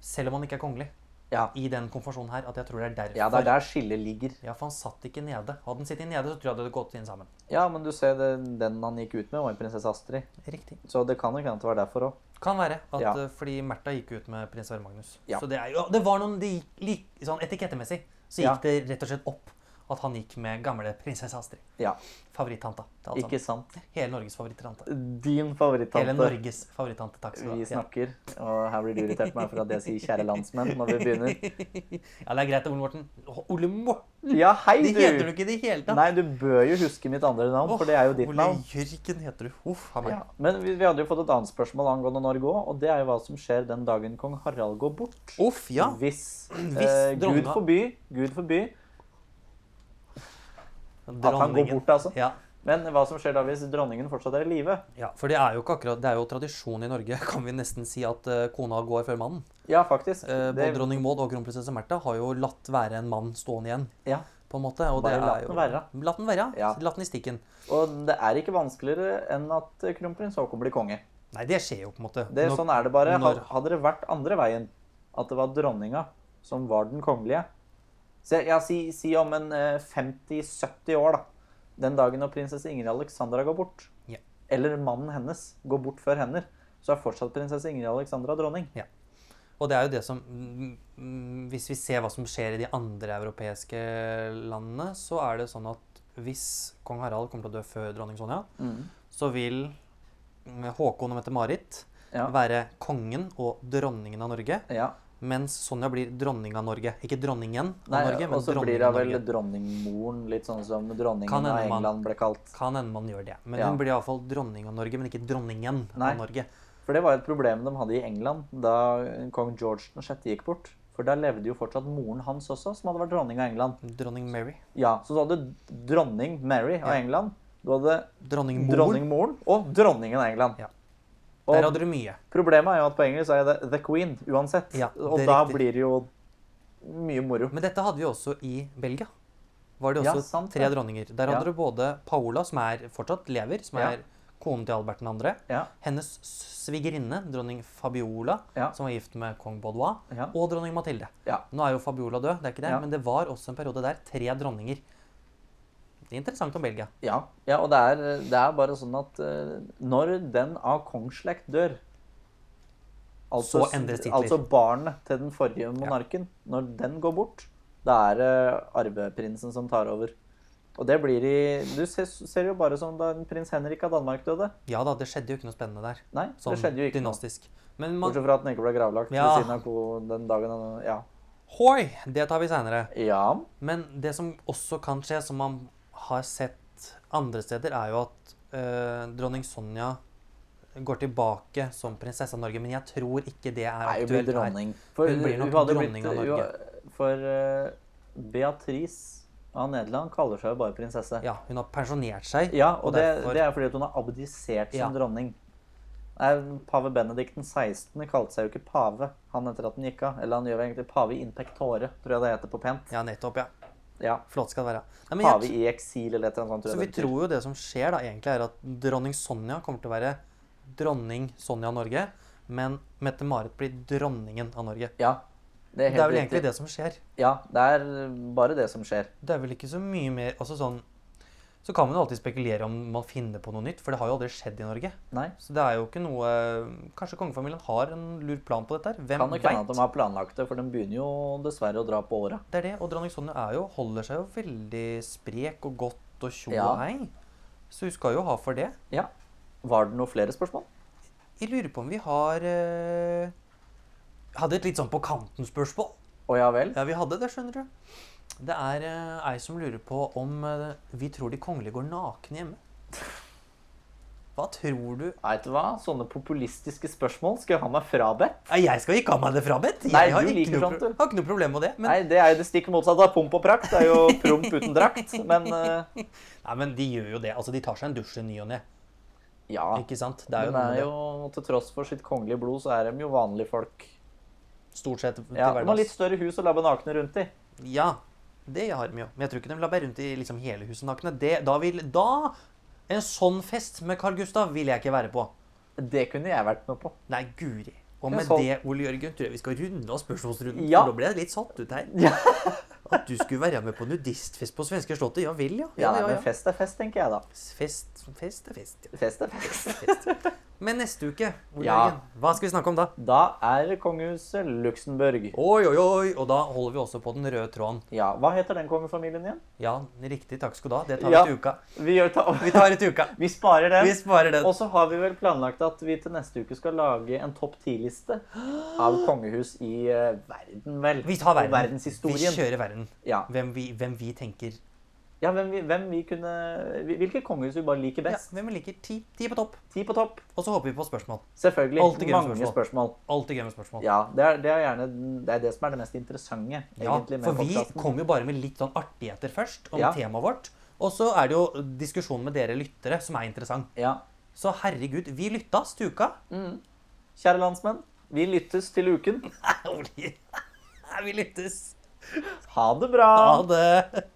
selv om han ikke er kongelig, ja. i den konfirmasjonen her, at jeg tror det er derfor. Ja, det er der skillet ligger. Ja, for han satt ikke nede. Hadde han sittet nede, så tror jeg det hadde gått inn sammen. Ja, men du ser det, den han gikk ut med, var en prinsesse Astrid. Riktig. Så det kan jo hende det var derfor òg. Kan være. At, Ja. eh, Fordi Märtha gikk ut med prins Sverre Magnus. Ja. Så det, er jo, det var noen de gikk, lik- sånn Etikettemessig så Ja. gikk det rett og slett opp at han gikk med gamle prinsesse Astrid. Ja, Favorittanta. til alle ikke sant? sammen. Hele Norges favorittante. Din Hele favorittante. Norges favorittante. Takk skal Vi du ha. snakker, og her blir du irritert på meg for at jeg sier 'kjære landsmenn' når vi begynner. Ja. ja, det er greit, Ole Morten. Å, Ole Morten! Ja, hei, Det du! heter du ikke i det hele tatt. Nei, du bør jo huske mitt andre navn, for det er jo ditt Ole navn. Jørgen heter du. Huff a meg. Ja. Men vi, vi hadde jo fått et annet spørsmål angående Norge òg, og det er jo hva som skjer den dagen kong Harald går bort. Uff, ja. Hvis, Hvis eh, Gud dronninga- forby, Gud forby at han går Dronningen. bort, altså. Ja. Men hva som skjer da hvis dronningen fortsatt er i live? Ja, for det er jo ikke akkurat, det er jo tradisjon i Norge, kan vi nesten si, at eh, kona går før mannen. Ja, faktisk. Eh, det, både dronning Maud og kronprinsesse Märtha har jo latt være en mann stående igjen, ja. på en måte. Og Bare det latt er jo, den være. Latt den være, ja. Ja. Latt den i stikken. Og det er ikke vanskeligere enn at kronprins Haakon blir konge. Nei, det skjer jo på en måte. Det, Nå- sånn er det bare. når- Had- Hadde det vært andre veien, at det var dronninga som var den kongelige Se, ja, si, si om en eh, 50-70 år, da. Den dagen når prinsesse Ingrid Alexandra går bort, Ja. eller mannen hennes går bort før henner, så er fortsatt prinsesse Ingrid Alexandra dronning. Og det er jo det som mm, mm, Hvis vi ser hva som skjer i de andre europeiske landene, så er det sånn at hvis kong Harald kommer til å dø før dronning Sonja, så vil mm, Håkon og Mette-Marit Ja. være kongen og dronningen av Norge. Ja. Mens Sonja blir dronning av Norge. Ikke dronningen av Nei, Norge, men og så dronningen blir hun av vel Norge. dronningmoren, litt sånn som Kan dronningen hende av man- England ble kalt. Kan hende man gjør det. Men Ja. hun blir iallfall dronning av Norge, men ikke dronningen Nei. av Norge. For det var jo et problem de hadde i England da kong George 6. gikk bort. For der levde jo fortsatt moren hans også, som hadde vært dronning av England. Dronning Mary. Ja, så du hadde dronning Mary av England. Du hadde Dronning Mor. dronningmoren og dronningen av England. Ja. Der Og hadde du mye. problemet er jo at på engelsk er det the queen uansett. Ja, det er og da riktig. blir det jo mye moro. Men dette hadde vi også i Belgia. Var det Ja, også sant tre det. dronninger. Der Ja. hadde du både Paola, som er fortsatt lever, som Ja. er konen til Albert 2. Ja, Hennes svigerinne, dronning Fabiola, Ja. som var gift med kong Baudouin, Ja. og dronning Mathilde. ja. Nå er jo Fabiola død, det er ikke det, Ja. men det var også en periode der tre dronninger. Det er interessant om Belgia. Ja, ja og det er, det er bare sånn at eh, når den av kongsslekt dør altså, Så endres titler. Altså barnet til den forrige monarken. Når den går bort, da er det arveprinsen som tar over. Og det blir i Du ser, ser jo bare som da prins Henrik av Danmark døde. Ja da, det skjedde jo ikke noe spennende der. Nei, Sånn det skjedde jo ikke noe. dynastisk. Men man, Bortsett fra at den ikke ble gravlagt ved Ja. siden av ko- den dagen han Ja. hoi, det tar vi seinere. ja. Men det som også kan skje, som man har sett andre steder, er jo at eh, dronning Sonja går tilbake som prinsesse av Norge. Men jeg tror ikke det er Nei, hun blir aktuelt her. dronning. For, Hun blir nok hadde dronning av blitt- Norge. hun- For eh, Beatrice av Nederland kaller seg jo bare prinsesse. Ja, hun har pensjonert seg. Ja, og, det, derfor- det er fordi at hun har abdisert som Ja. dronning. Nei, Pave Benedikt den 16. kalte seg jo ikke pave han etter at han gikk av. Eller han gjør vel egentlig pave in pectore, tror jeg det heter på pent. Ja, nettopp, ja. Ja, Flott skal det være. Nei, men jeg- Pave i eksil eller et eller annet sånt. så Tror vi jeg det betyr. tror jo det som skjer da egentlig er at dronning Sonja kommer til å være dronning Sonja av Norge, men Mette-Marit blir dronningen av Norge. Ja, Det er, Det er vel riktig. egentlig det som skjer. Ja, det er bare det som skjer. Det er vel ikke så mye mer Altså sånn Så kan man jo alltid spekulere om man finner på noe nytt, for det har jo aldri skjedd i Norge. Nei. Så det er jo ikke noe Kanskje kongefamilien har en lur plan på dette her? Hvem Kan nok hende at de veit? har planlagt det, for de begynner jo dessverre å dra på åra. Det er det. Og dronning Sonja er jo, holder seg jo veldig sprek og godt og tjo Ja. og hei. Så hun skal jo ha for det. Ja. Var det noen flere spørsmål? Jeg lurer på om vi har eh, Hadde et litt sånn på kanten-spørsmål. Å ja vel? Ja, vi hadde det, skjønner du. Det er eh, ei som lurer på om eh, vi tror de kongelige går nakne hjemme. Hva tror du Veit du hva? Sånne populistiske spørsmål skal jeg ha meg frabedt. Nei, Jeg skal ikke ha meg det frabedt. Jeg Nei, har, du ikke liker noe sånt, pro- du. har ikke noe problem med det. Men, Nei, det er jo det stikk motsatte av pomp og prakt. Det er jo promp uten drakt. Men eh, nei, men de gjør jo det. Altså, De tar seg en dusj i ny og ne. ja. Ikke sant? Det er jo, Men det noe med er jo til tross for sitt kongelige blod, så er de jo vanlige folk. det. stort sett til Ja, De har litt hverdags. større hus å labbe nakne rundt i. Ja, det har de jo. Men jeg tror ikke de labber rundt i liksom hele huset nakne. Det, da vil Da En sånn fest med Carl Gustav vil jeg ikke være på. Det kunne jeg vært med på. Nei, guri. Og Ja, med sånn. det, Ole Jørgen, tror jeg vi skal runde av spørsmålsrunden. Ja. For nå ble jeg litt satt ut her. Ja. At du skulle være med på nudistfest på svenske slottet. Ja vel, ja. Ja, ja, nei, ja, men ja. fest er fest, tenker jeg da. Fest, fest er fest. Ja. Fest er fest. Men neste uke, Ole Ja. Jørgen, hva skal vi snakke om da? Da er kongehuset Luxembourg. Oi, oi, oi! Og da holder vi også på den røde tråden. Ja, hva heter den kongefamilien igjen? Ja, riktig. Takk skal du ha. Det tar Ja. vi til uka. Vi, gjør ta Vi tar det til uka. vi sparer den. Vi sparer den. Og så har vi vel planlagt at vi til neste uke skal lage en topp ti-liste av kongehus i eh, verden, vel. Vi tar Og verden. Vi verdenshistorien. kjører verden. Ja, Hvem vi, hvem vi tenker. ja hvem, vi, hvem vi kunne Hvilke kongehus vi bare liker Ja, best. hvem vi liker. Ti, ti på topp. Ti på topp. Og så håper vi på spørsmål. Selvfølgelig. Alltid gøy med Mange spørsmål. spørsmål. Alltid gøy med spørsmål. Ja, det er, det er gjerne det, er det som er det mest interessante. Ja, egentlig, med for vi podcasten. kom jo bare med litt sånn artigheter først om Ja. temaet vårt. Og så er det jo diskusjonen med dere lyttere som er interessant. ja. Så herregud, vi lytta stuka. Kjære landsmenn, vi lyttes til uken. Nei, Ole. Nei, vi lyttes. Ha det bra! Ha det.